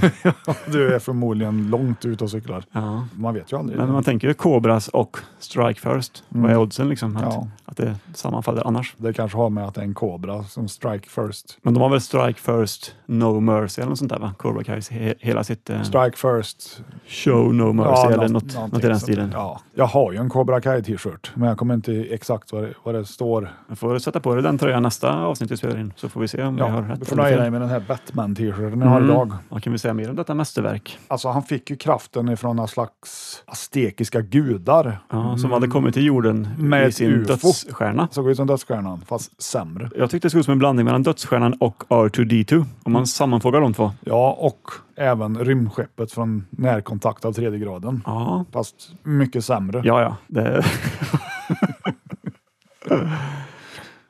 du är förmodligen långt ute och cyklar.
ja.
Man vet ju aldrig.
Men man tänker ju Kobras och Strike First. Vad är oddsen liksom? Att,
Mm. Ja.
att det sammanfaller annars.
Det kanske har med att det är en kobra som strike first.
Men de har väl Strike First, No Mercy eller något sånt där va? Cobra Kais he, hela sitt eh,
Strike first.
show No Mercy eller något, något i den
sånt.
stilen.
Ja. Jag har ju en Cobra Kai t-shirt, men jag kommer inte exakt vad det, vad det står.
Jag får sätta på dig den tröjan nästa avsnitt vi spelar in, så får vi se om jag har rätt.
du får
eller
nöja
fel. Mm.
dig med den här Batman-t-shirten jag har idag.
Vad kan vi säga mer om detta mästerverk?
Alltså han fick ju kraften ifrån någon slags aztekiska gudar.
Ja, som hade kommit till jorden
Med
i
ett
sin
UFO.
dödsstjärna.
Såg ut som Dödsstjärnan, fast sämre.
Jag tyckte det såg ut som en blandning mellan Dödsstjärnan och R2D2, om man sammanfogar de två.
Ja, och även rymdskeppet från närkontakt av tredje graden.
Ja,
Fast mycket sämre.
ja, ja. Det...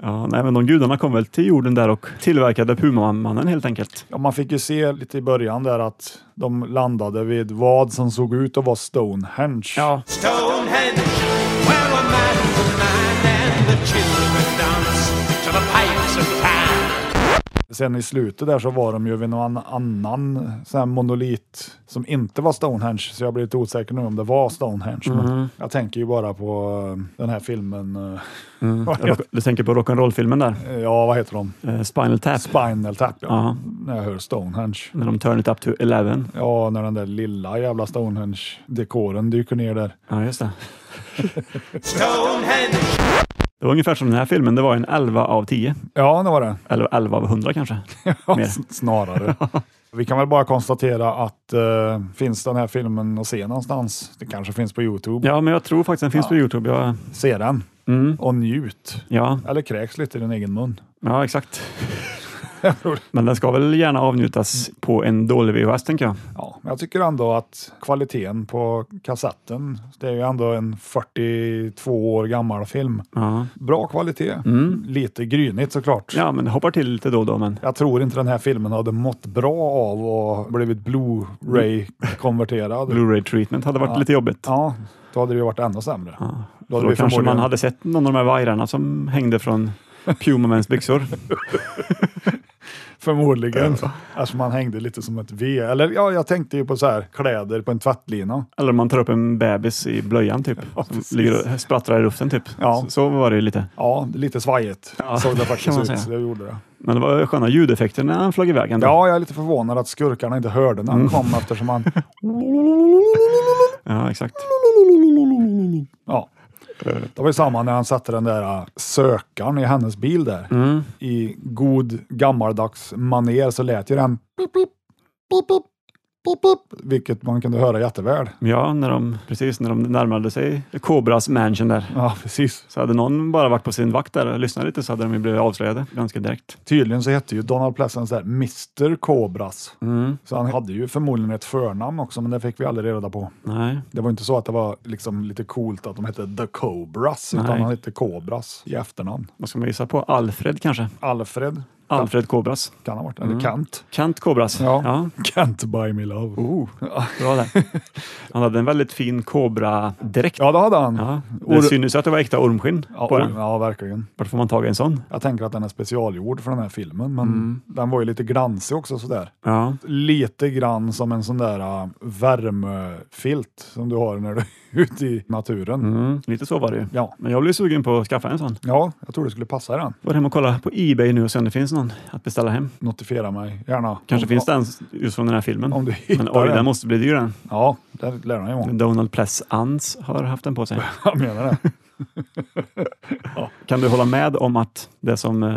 ja nej, men de gudarna kom väl till jorden där och tillverkade Pumamannen helt enkelt.
Ja, man fick ju se lite i början där att de landade vid vad som såg ut att vara Stonehenge.
Ja,
Stonehenge, where a man was nine and the children danced to the pipes of time.
Sen i slutet där så var de ju vid någon annan sån här monolit som inte var Stonehenge, så jag blir lite osäker nu om det var Stonehenge.
Mhm.
Men jag tänker ju bara på eh, den här filmen, eh, vad heter,
du tänker på rock'n'roll-filmen där,
ja vad heter de?
eh, Spinal Tap,
Spinal Tap, ja.
Ja.
När jag hör Stonehenge.
när de turn it up to 11.
Ja, när den där lilla jävla Stonehenge-dekoren dyker ner där.
Ja, just det.
Stonehenge,
Det var ungefär som den här filmen, det var en 11 av 10.
Ja, det var det.
Eller 11 av 100 kanske.
Ja,
Mer.
s- snarare. Vi kan väl bara konstatera att eh, finns den här filmen att se någonstans? Det kanske finns på Youtube.
Ja, Mm. men jag tror faktiskt den finns på Youtube. Jag,
Se den och njut.
ja,
Eller kräks lite i din egen mun.
ja, exakt. Men den ska väl gärna avnjutas på en dålig VHS, tänker jag.
Ja, men jag tycker ändå att kvaliteten på kassetten, det är ju ändå en 42 år gammal film.
Ja, Mm.
Bra kvalitet. Lite grynigt såklart.
ja men hoppar till lite då och då. Men
Jag tror inte den här filmen hade mått bra av och blivit Blu-ray-konverterad.
Blu-ray treatment hade varit lite jobbigt.
Ja, då hade det ju varit ännu sämre. Då
Då
hade vi
kanske
förmodligen...
man hade sett någon av de här vajrarna som hängde från Pumamans byxor.
Förmodligen. Alltså man hängde lite som ett V. Eller ja, jag tänkte ju på så här kläder på en tvättlina.
Eller om man tar upp en bebis i blöjan typ.
precis.
som ligger och sprattlar i luften typ.
Ja.
Så, så var det ju lite.
Ja, lite svajigt såg det
kan
faktiskt
man
ut.
säga.
Så det gjorde det.
Men det var sköna ljudeffekter när han flög iväg ändå.
Ja, jag är lite förvånad att skurkarna inte hörde när han
Mm.
kom eftersom han...
ja exakt.
Ja. Det var ju samma när han satte den där äh, sökaren i hennes bil där.
Mm.
I god gammaldags maner så lät ju den pip, pip, pip, pip, pip, pip, vilket man kunde höra jätteväl.
Ja, när de, precis när de närmade sig Kobras mansion där.
Ja, precis.
Så hade någon bara varit på sin vakt där och lyssnat lite så hade de ju blivit avslöjade ganska direkt.
Tydligen så hette ju Donald Pleasence där Mr Kobras.
Mm.
Så han hade ju förmodligen ett förnamn också, men det fick vi aldrig reda på.
Nej,
Det var inte så att det var liksom lite coolt att de hette The Cobras, utan
Nej.
han hette Kobras i efternamn.
vad ska man gissa på? Alfred kanske?
Alfred
Alfred Kobras.
kan ha varit,
Mm.
eller Kant.
Kant Kobras.
Ja.
ja.
Kant by me love.
Oh, bra där. Han hade en väldigt fin kobra-dräkt.
Ja, det hade han.
Ja.
Or-
Det syns ju att det var äkta ormskinn
Ja,
på
oj,
den.
ja, verkligen.
Vart får man tag i en sån?
Jag tänker att den är specialgjord för den här filmen, men
Mm.
den var ju lite glansig också sådär.
Ja,
Lite grann som en sån där äh, värmefilt som du har när du är ute i naturen.
mm, lite så var det ju.
Ja.
Men jag blev sugen på att skaffa en sån.
Ja, jag tror det skulle passa den.
Var hem och kolla på Ebay nu och se om det finns någon att beställa hem.
Notifiera mig gärna.
Kanske
om,
finns den just från den här filmen.
Om du
Men
hittar
oj,
den.
den måste bli dyr den.
Ja, det lär den ju vara.
Donald Pless Ans har haft den på sig.
Jag menar det.
Kan du hålla med om att det som, eh,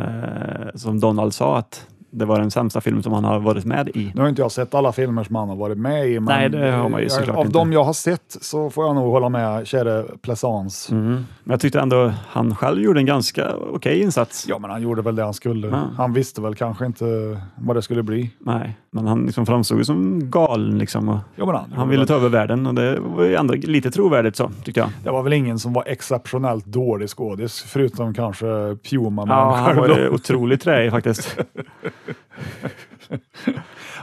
som Donald sa, att det var den sämsta filmen som han har varit med i?
Nu har inte jag sett alla filmer som han har varit med i. Men
Nej, det har man ju
jag-
såklart
Av
inte.
de jag har sett så får jag nog hålla med käre Plessans.
Men jag tyckte ändå han själv gjorde en ganska okej insats.
Ja, men han gjorde väl det han skulle.
Ja.
Han visste väl kanske inte vad det skulle bli.
Nej, men han liksom framstod ju som galen liksom. Och
Ja, men han,
han ville ta över världen och det var ju ändå lite trovärdigt så, tyckte jag.
Det var väl ingen som var exceptionellt dålig skådis, förutom kanske Puma. men
Ja, han
själv
var
då.
ju otroligt träig faktiskt.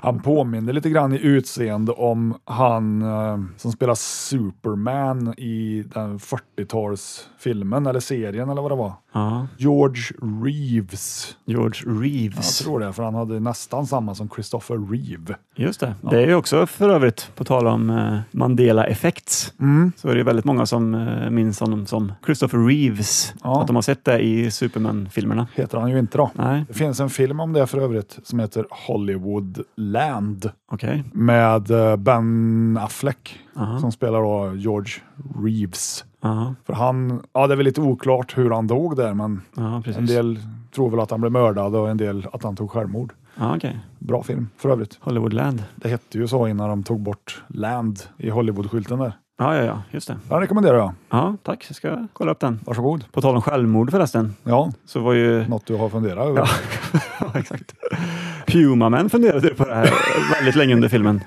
Han påminner lite grann i utseende om han eh, som spelar Superman i den 40-talsfilmen eller serien eller vad det var.
Ja,
George Reeves.
George
Jag
Reeves.
tror det, för han hade nästan samma som Christopher Reeve.
Just det. Det är ju också för övrigt, på tal om eh, Mandela Effects, så är det ju väldigt många som eh, minns honom som Christopher Reeves.
Ja.
Att de har sett det i Superman-filmerna.
Heter han ju inte då.
Nej,
Det finns en film om det för övrigt som heter Hollywoodland
okej.
med eh, Ben Affleck
Aha.
som spelar då George Reeves.
Ja,
För han, ja det är väl lite oklart hur han dog där, men
ja
en
precis.
del tror väl att han blev mördad och en del att han tog självmord.
Ja, okej.
Bra film för övrigt.
Hollywoodland.
Det hette ju så innan de tog bort land i Hollywood-skylten där.
Ja, ja, ja, just det.
Den rekommenderar jag.
Ja, tack. Jag ska kolla upp den.
Varsågod.
På tal om självmord förresten,
Ja,
så var ju...
något du har funderat över.
Ja, ja, exakt. Puma-män funderade ju på det här väldigt länge under filmen.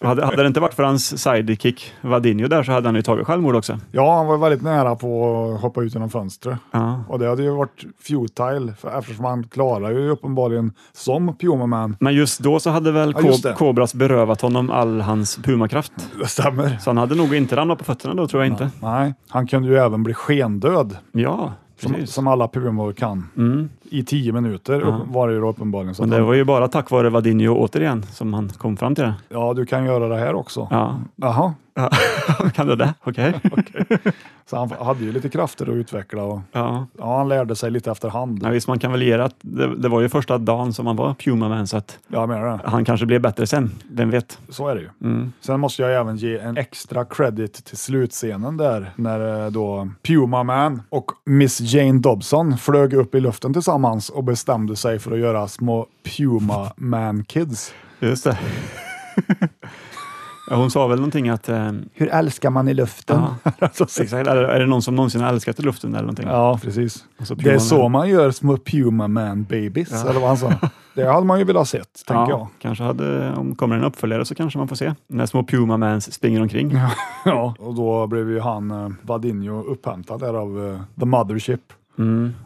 Och Hade, hade det inte varit för hans sidekick Vadinho där så hade han ju tagit självmord också.
Ja, han var väldigt nära på att hoppa ut genom fönstret.
Ja.
Och det hade ju varit futile för eftersom han klarar ju uppenbarligen som Puma Man.
Men just då så hade väl
Ja, just det.
Ko- Kobras berövat honom all hans pumakraft.
Det stämmer.
Så han hade nog inte ramlat på fötterna då, tror jag inte.
Nej, han kunde ju även bli skendöd
Ja,
som,
precis. Mm.
som alla pumor kan. I tio minuter upp, var det ju då uppenbarligen. Så
Men
att
det
han,
var ju bara tack vare Vadinho återigen som han kom fram till det.
ja, du kan göra det här också.
Ja,
Jaha,
kan du det? Okej.
så han hade ju lite krafter att utveckla och
Ja.
ja, han lärde sig lite efterhand.
Ja, visst, man kan väl ge det att det, det var ju första dagen som han var Puma-man så att
Jag menar det.
han kanske blev bättre sen. Vem vet?
Så är det ju. Sen måste jag även ge en extra credit till slutscenen där när eh, då Puma Man och Miss Jane Dobson flög upp i luften tillsammans och bestämde sig för att göra små Puma Man Kids.
Just det. ja, hon sa väl någonting att... Eh,
Hur älskar man i luften?
ja, exakt, är, det, är det någon som någonsin har älskat i luften eller någonting?
Ja, precis.
Alltså Puma
det är så
Man.
man gör små Puma Man Babies, eller vad han sa. Det hade man ju velat sett, tänker jag.
Kanske hade, om kommer en uppföljare så kanske man får se när små Puma-mans springer omkring. Ja.
Ja, och då blev ju han, eh, Vadinho, upphämtad där av eh, The Mothership.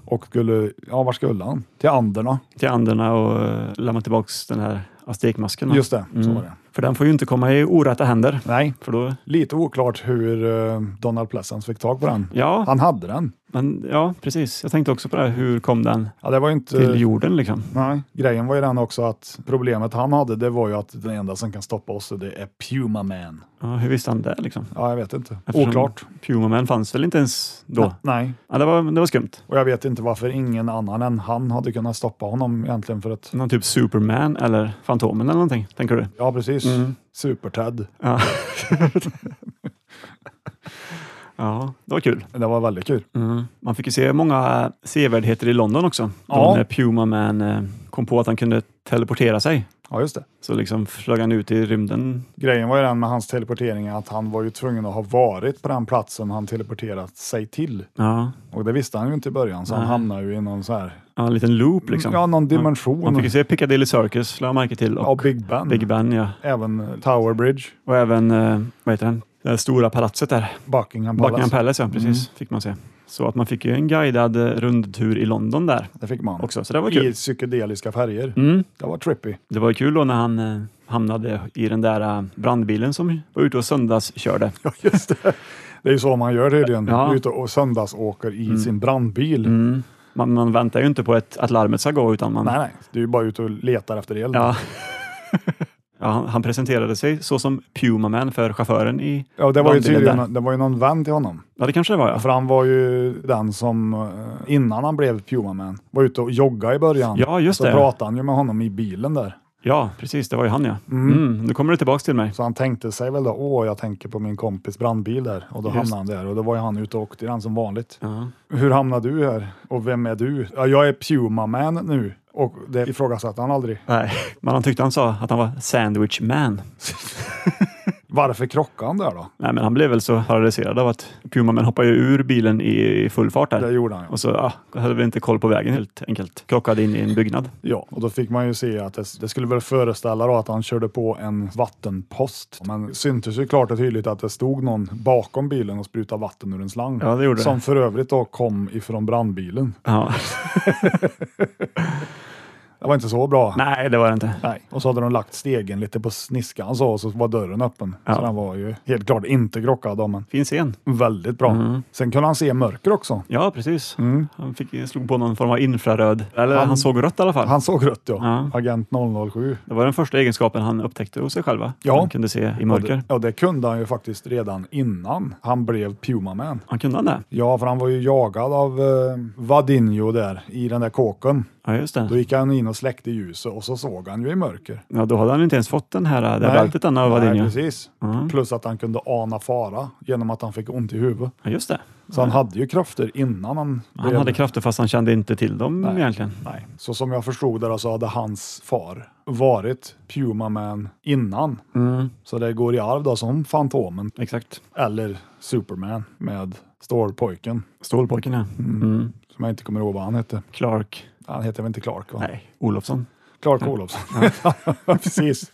Och skulle, ja var skulle han? Till Anderna.
Mm. Till anderna och eh, lämna tillbaks den här aztekmasken. va?
Just det, så
Mm.
var det.
För den får ju inte komma i orätta händer.
Nej,
För då,
lite oklart hur eh, Donald Pleasence fick tag på den.
ja,
Han hade den.
men, ja, precis. Jag tänkte också på det. här. Hur kom den
Ja, det var ju inte...
till jorden liksom?
Nej, grejen var ju den också att problemet han hade, det var ju att den enda som kan stoppa oss, det är Puma Man.
Ja, hur visste han det liksom?
Ja, jag vet inte.
Eftersom
Oklart.
Puma-man fanns väl inte ens då?
Nej,
Ja, det, var, det var skumt.
och jag vet inte varför ingen annan än han hade kunnat stoppa honom egentligen för att...
Någon typ Superman eller Fantomen eller någonting, tänker du?
Ja, precis.
Mm.
Super-Ted.
Ja. ja, det var kul.
Det var väldigt kul.
Mm. Man fick ju se många sevärdheter i London också.
Ja.
Då när Puma Man eh, kom på att han kunde teleportera sig.
Ja, just det.
Så liksom flög han ut i rymden.
Grejen var ju den med hans teleportering att han var ju tvungen att ha varit på den platsen han teleporterat sig till.
Ja,
Och det visste han ju inte i början, så han hamnade ju i någon så här
ja en liten loop liksom.
Mm, Ja, någon dimension.
Man fick ju se Piccadilly Circus, lade jag märke till. Och
Ja, Big Ben.
Big Ben, ja.
Även eh, Tower Bridge,
Och även, eh, vad heter den? Det här stora palatset där.
Buckingham Palace.
Buckingham Palace, ja
Mm.
precis. Fick man se. Så att man fick ju en guidad eh, rundtur i London där.
Det fick man.
också, så det var kul. Mm.
I psykedeliska färger. Det var trippy.
Det var ju kul då när han eh, hamnade i den där eh, brandbilen som var ute och söndagskörde.
Ja, just det. Det är ju så man gör tydligen.
Ja. Mm.
Ute och söndagsåker i sin brandbil.
Man, man väntar ju inte på ett, att larmet ska gå utan man...
Nej, nej. Du är ju bara ute och letar efter eld.
Ja. ja, han, han presenterade sig så som Pumaman för chauffören i
Ja, och det var ju
brandbilen där.
tydligen det var ju någon vän till honom.
Ja, det kanske det var ja.
För han var ju den som eh, innan han blev Pumaman var ute och jogga i början.
Ja, just
så
det.
pratade han ju med honom i bilen där.
Ja, precis. Det var ju han ja. Mm. nu kommer det tillbaks till mig.
Så han tänkte sig väl då, åh, jag tänker på min kompis brandbil där. Och då hamnade han där och då var ju han ute och åkte i den som vanligt. Hur hamnade du här? Och vem är du? Ja, jag är Puma-man nu. Och det ifrågasatte han aldrig.
Nej, men han tyckte han sa att han var Sandwich Man.
Varför krockade han där då?
Nej, men han blev väl så paralyserad av att Pumaman hoppade ju ur bilen i, i full fart där.
Det gjorde han ja.
Och så ah, hade vi inte koll på vägen helt enkelt. Krockade in i en byggnad.
ja. Och då fick man ju se att det, det skulle väl föreställa då att han körde på en vattenpost. Men syntes ju klart och tydligt att det stod någon bakom bilen och sprutade vatten ur en slang.
Ja, det gjorde det.
som för övrigt då kom ifrån brandbilen.
Ja.
Det var inte så bra.
Nej, det var det inte.
Nej, och så hade de lagt stegen lite på sniskan så, och så var dörren öppen.
Ja.
Så den var ju helt klart inte krockad av men
Fin scen.
Väldigt bra.
Mm.
Sen kunde han se mörker också.
Ja, precis.
Mm.
Han fick, slog på någon form av infraröd. Eller
Han-
han, såg rött i alla fall.
Han såg rött ja.
Ja.
Agent 007.
det var den första egenskapen han upptäckte hos sig själva.
Ja.
Han kunde se i mörker.
Ja, det kunde han ju faktiskt redan innan han blev Puma-Man.
Han kunde han det?
Ja, för han var ju jagad av eh, Vadinho där i den där kåken.
Ja, just det.
Då gick han in och släckte ljuset och så såg han ju i mörker.
Ja, då hade han inte ens fått den här, det här
Nej.
bältet han
Nej,
övade in ju.
precis.
Mm.
Plus att han kunde ana fara genom att han fick ont i huvudet.
Ja, just det.
Så han hade ju krafter innan han...
Han
blev-
hade krafter fast han kände inte till dem egentligen.
Nej. Så som jag förstod det då så hade hans far varit Puma Man innan.
Mm.
Så det går i arv då som Fantomen
Exakt.
eller Superman med Stålpojken.
Stålpojken ja.
Mm. Som jag inte kommer ihåg vad han hette.
Clark.
Han heter väl inte Clark? Va?
Nej, Olofsson.
Clark Olofsson. Precis.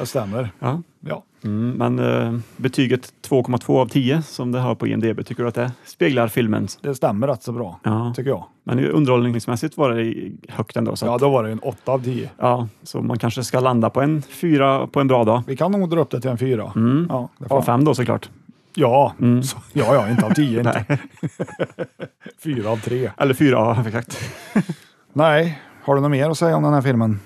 Det stämmer.
Ja.
Ja.
Mm, men eh, betyget 2,2 av 10 som det har på IMDB, tycker du att det speglar filmen?
Det stämmer rätt så bra,
Ja.
tycker jag.
Men ju underhållningsmässigt var det i- högt ändå. Så,
Ja,
att,
då var det ju en 8 av 10.
ja, så man kanske ska landa på en fyra på en bra dag.
Vi kan nog dra upp det till en 4. Ja, det får
Av
jag.
Mm. fem Mm. då såklart.
ja. Så, ja, ja, inte av 10. inte. 4 av 3.
Eller fyra, ja, exakt.
Nej, har du något mer att säga om den här filmen?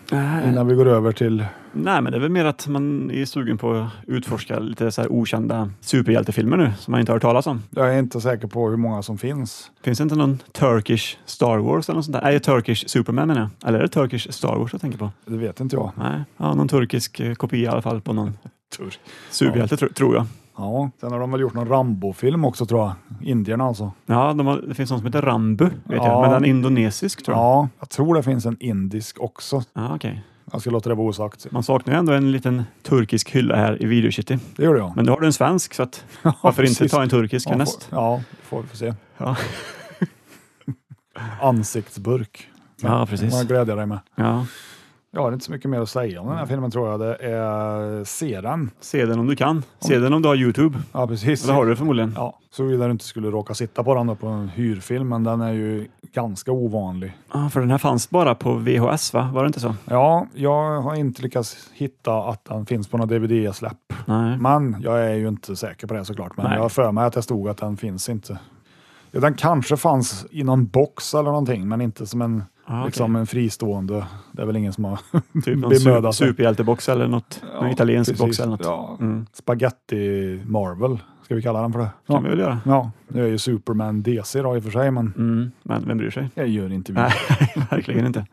Innan vi går över till...
Nej, men det är väl mer att man är sugen på att utforska lite så här okända superhjältefilmer nu som man inte har hört talas om.
Jag är inte säker på hur många som finns.
Finns det inte någon Turkish Star Wars eller något sånt där? Nej, Turkish Superman menar jag. Eller är det Turkish Star Wars jag tänker på?
Det vet inte jag.
Nej, ja, någon turkisk eh, kopia i alla fall på någon
Tur.
superhjälte tro, tror jag.
Ja, sen har de väl gjort någon Rambo-film också tror jag. Indierna alltså.
Ja, de har, det finns någon som heter Rambu, vet
Ja.
jag. men den är indonesisk tror jag.
Ja, jag tror det finns en indisk också.
Ja, okej.
Jag ska låta det vara osagt.
Man saknar ju ändå en liten turkisk hylla här i Video City.
Det gjorde jag.
Men nu har du en svensk, så att, varför inte
precis.
ta en turkisk
ja,
härnäst?
får, ja, får vi få se.
Ja.
Ansiktsburk.
Ja,
Det
precis.
var glädje dig med.
Ja.
Jag har inte så mycket mer att säga om den här filmen tror jag. Det är se den.
Se den om du kan. Se den om du har Youtube.
Ja, precis.
Ja, Det har du förmodligen.
Ja, såvida du inte skulle råka sitta på den då på en hyrfilm, men den är ju ganska ovanlig.
Ja, Ah, för den här fanns bara på VHS, va? Var det inte så?
Ja, jag har inte lyckats hitta att den finns på något DVD-släpp.
Nej.
Men jag är ju inte säker på det såklart, men
Nej.
jag har för mig att det stod att den finns inte. Ja, den kanske fanns i någon box eller någonting, men inte som en,
Ah, okej.
liksom en fristående. Det är väl ingen som har
Typ någon su-
bemödat sig.
superhjältebox eller något. någon italiensk box
precis.
eller något.
Ja. Spaghetti Marvel, ska vi kalla den för det?
kan
Ja.
vi väl göra.
ja, nu är ju Superman DC då i och för sig, men
Mm. Men vem bryr sig?
jag gör inte vi.
Nej, verkligen inte.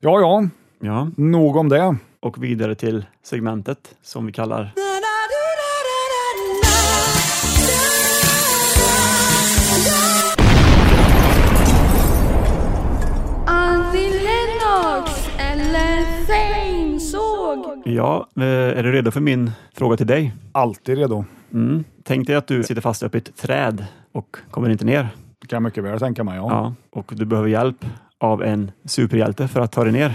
Ja, ja,
Ja,
nog om det.
och vidare till segmentet som vi kallar
Annie Lennox eller Zane såg.
Ja, eh, är du redo för min fråga till dig?
Alltid redo.
Mm. Tänk dig att du sitter fast uppe i ett träd och kommer inte ner.
Det kan jag mycket väl tänka mig. Ja.
Ja, och du behöver hjälp av en superhjälte för att ta dig ner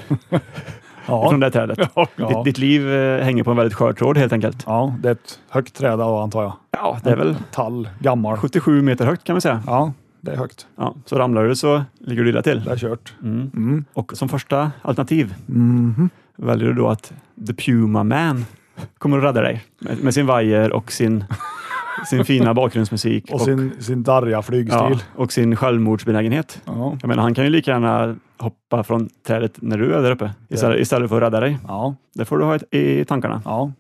Ja.
från det här trädet.
Ja.
Ditt, ditt liv eh, hänger på en väldigt skör tråd helt enkelt.
ja, det är ett högt träd då, antar jag.
Ja, det är väl
Tall, gammal.
77 meter högt kan man säga.
Ja, det är högt.
Ja, så ramlar du så ligger du illa
Det
till. Mm.
är kört. Mm. Mhm.
Och som första alternativ väljer du då att The Puma Man kommer att rädda dig med, med sin vajer och sin, sin fina bakgrundsmusik.
Och sin, sin darriga
ja,
flygstil.
och sin självmordsbenägenhet.
Ja.
Jag menar, han kan ju lika gärna hoppa från trädet när du är där uppe istället, istället för att rädda dig.
Ja.
Det får du ha i- i tankarna.
ja.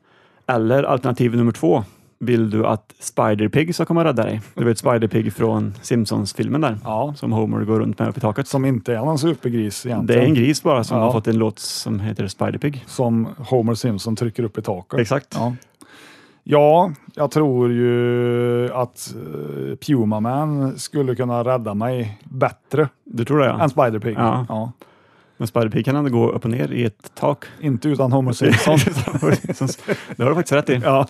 Eller alternativ nummer två. Vill du att Spider-Pig ska komma och rädda dig? Du vet Spider-Pig från Simpsons-filmen där,
Ja.
som Homer går runt med upp i taket.
Som inte är någon supergris
Det
egentligen.
är en gris bara som
Ja.
har fått en låt som heter Spider-Pig.
Som Homer Simpson trycker upp i taket.
Exakt.
Ja. Ja, jag tror ju att eh, Puma Man skulle kunna rädda mig bättre
Du tror det ja.
än Spider-Pig.
Ja.
Ja.
Men Spider-Pig kan ändå gå upp och ner i ett tak.
Inte utan Homer Simpson.
det har du faktiskt rätt i. Ja,
ja.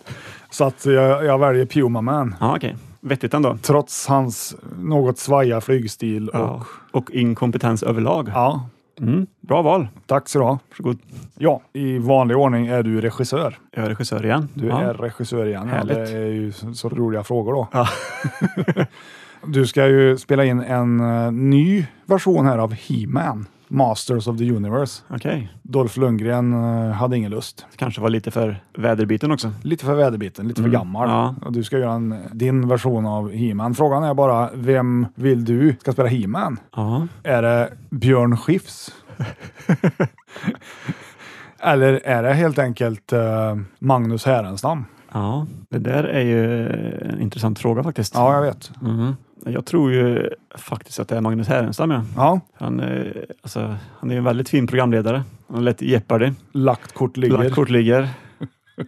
Så att jag, jag väljer Puma Man.
okej. Vettigt ändå.
Trots hans något svaja flygstil. Och, ja.
Ja. Och inkompetens överlag. Mm. Bra val.
tack så du ha.
Varsågod.
Ja, i vanlig ordning är du regissör.
Jag är regissör igen.
Du
ja.
är regissör igen. Ja, det
Härligt.
är ju så, så roliga frågor då.
Ja.
du ska ju spela in en eh, ny version här av He-Man, Masters of the Universe.
Okej.
Dolph Lundgren eh, hade ingen lust.
Kanske var lite för väderbiten också.
Lite för väderbiten, lite för gammal.
ja.
Och du ska göra en, din version av He-Man. Frågan är bara, vem vill du ska spela He-Man?
Ja.
Är det Björn Skifs? Eller är det helt enkelt eh, Magnus Härenstam?
ja. Det där är ju en intressant fråga faktiskt.
Ja, jag vet.
Mhm. Jag tror ju faktiskt att det är Magnus Härenstam. Ja.
Ja,
Han, eh, alltså, han är ju en väldigt fin programledare. Han har lett Jeopardy,
lagt kort ligger.
lagt kortligger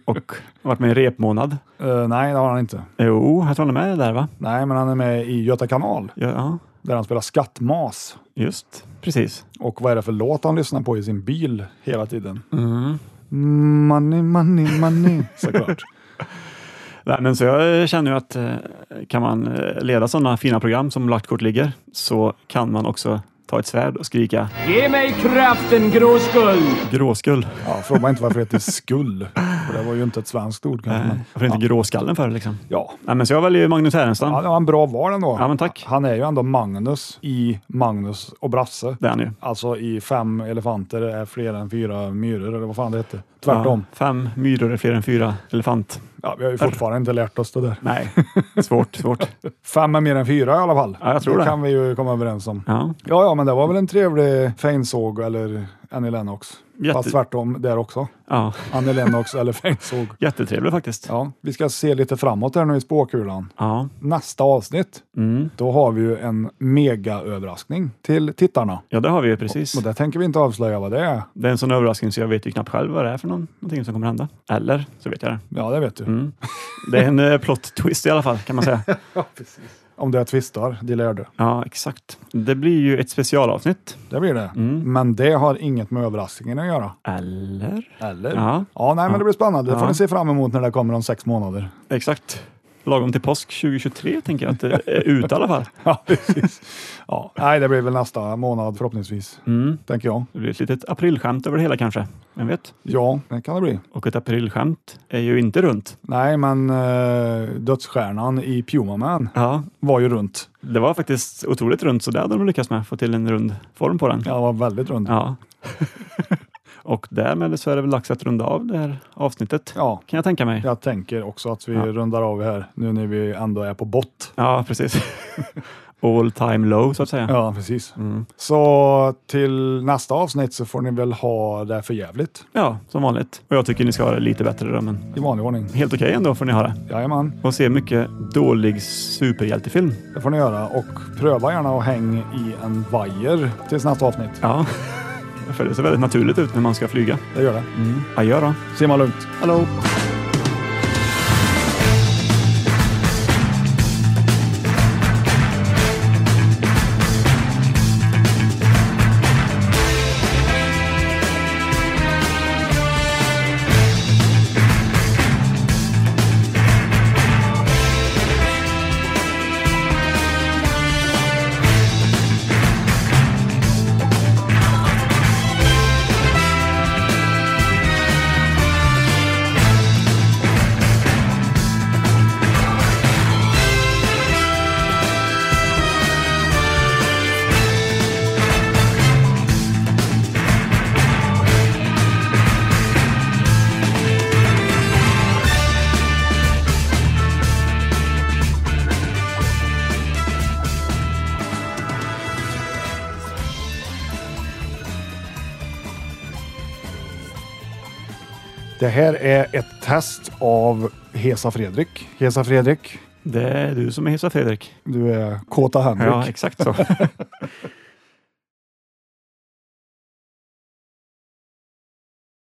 och varit med i Repmånad.
Eh, nej, det har han inte.
Jo, jag tror han är med där va?
Nej, men han är med i Göta kanal
Ja, ja
där han spelar skattmas.
just precis.
Och vad är det för låt han lyssnar på i sin bil hela tiden? Money, money, money, såklart.
Nej, men så jag eh, känner ju att eh, kan man eh, leda sådana fina program som Lagt kort ligger så kan man också ta ett svärd och skrika
Ge mig kraften, gråskuld!
gråskull. Eh,
Ja, fråga mig inte varför det heter skull. För det var ju inte ett svenskt ord kanske. Men,
Varför inte gråskallen för liksom?
ja.
Nej, men så jag väljer Magnus Härenstam.
ja, det var en bra val ändå.
Ja, men tack.
Han är ju ändå Magnus i Magnus och Brasse.
Det är han ju.
Alltså i Fem elefanter är fler än fyra myror, eller vad fan det hette. Tvärtom.
Ja, fem myror är fler än fyra elefant.
Ja, vi har ju fortfarande inte lärt oss det där.
Nej, svårt, svårt.
Fem är mer än fyra i alla fall.
Ja, jag tror
det
det.
kan vi ju komma överens om.
Ja,
Ja, ja, men det var väl en trevlig Feinsåg eller Annie Lennox.
Jätte-
Fast tvärtom där också.
ja.
Annie Lennox eller Feinsåg.
Jättetrevlig faktiskt. Ja.
Ja, vi ska se lite framåt här nu i spåkulan. Nästa avsnitt,
Mm.
då har vi ju en megaöverraskning till tittarna.
ja, det har vi ju precis.
Och det tänker vi inte avslöja vad det är.
Det är en sån överraskning så jag vet ju knappt själv vad det är för någon, någonting som kommer hända. Eller så vet jag det.
Ja, det vet du.
Mm. Det är en eh, plot twist i alla fall kan man säga.
Om det är twistar, det lär du.
Ja, exakt. Det blir ju ett specialavsnitt.
Det blir det.
Mm.
Men det har inget med överraskningen att göra.
Eller?
Eller?
Ja,
Ja, nej, men det blir spännande. Det får
Ja.
ni se fram emot när det kommer om sex månader.
exakt. Lagom till påsk 2023 tänker jag att det är ut i alla fall.
Ja, precis. Ja. Nej, det blir väl nästa månad förhoppningsvis,
Mm.
tänker jag.
Det blir ett litet aprilskämt över det hela kanske. Vem vet?
Ja, det kan det bli.
Och ett aprilskämt är ju inte runt.
Nej, men eh, dödsstjärnan i Puma Man
Ja,
var ju runt.
det var faktiskt otroligt runt så det hade de lyckats med. Få till en rund form på den.
Ja, den var väldigt runt. Ja.
Ja. Och därmed så är det väl dags att runda av det här avsnittet. Kan jag tänka mig.
jag tänker också att vi
Ja.
rundar av här nu när vi ändå är på bott.
Ja, precis. All time low så att säga.
Ja, precis. Så till nästa avsnitt så får ni väl ha det för jävligt
Ja, som vanligt. Och jag tycker ni ska ha det lite bättre då, men
i vanlig ordning.
helt okej ändå får ni ha det.
Jajamän,
Och se mycket dålig superhjältefilm.
det får ni göra och pröva gärna att häng i en vajer tills nästa avsnitt.
Ja, för det ser väldigt naturligt ut när man ska flyga.
Det gör det.
Adjö då.
Simma lugnt. Hallå! Det här är ett test av Hesa Fredrik. Hesa Fredrik,
Det är du som är Hesa Fredrik.
du är Kåta Henrik.
Ja, exakt så.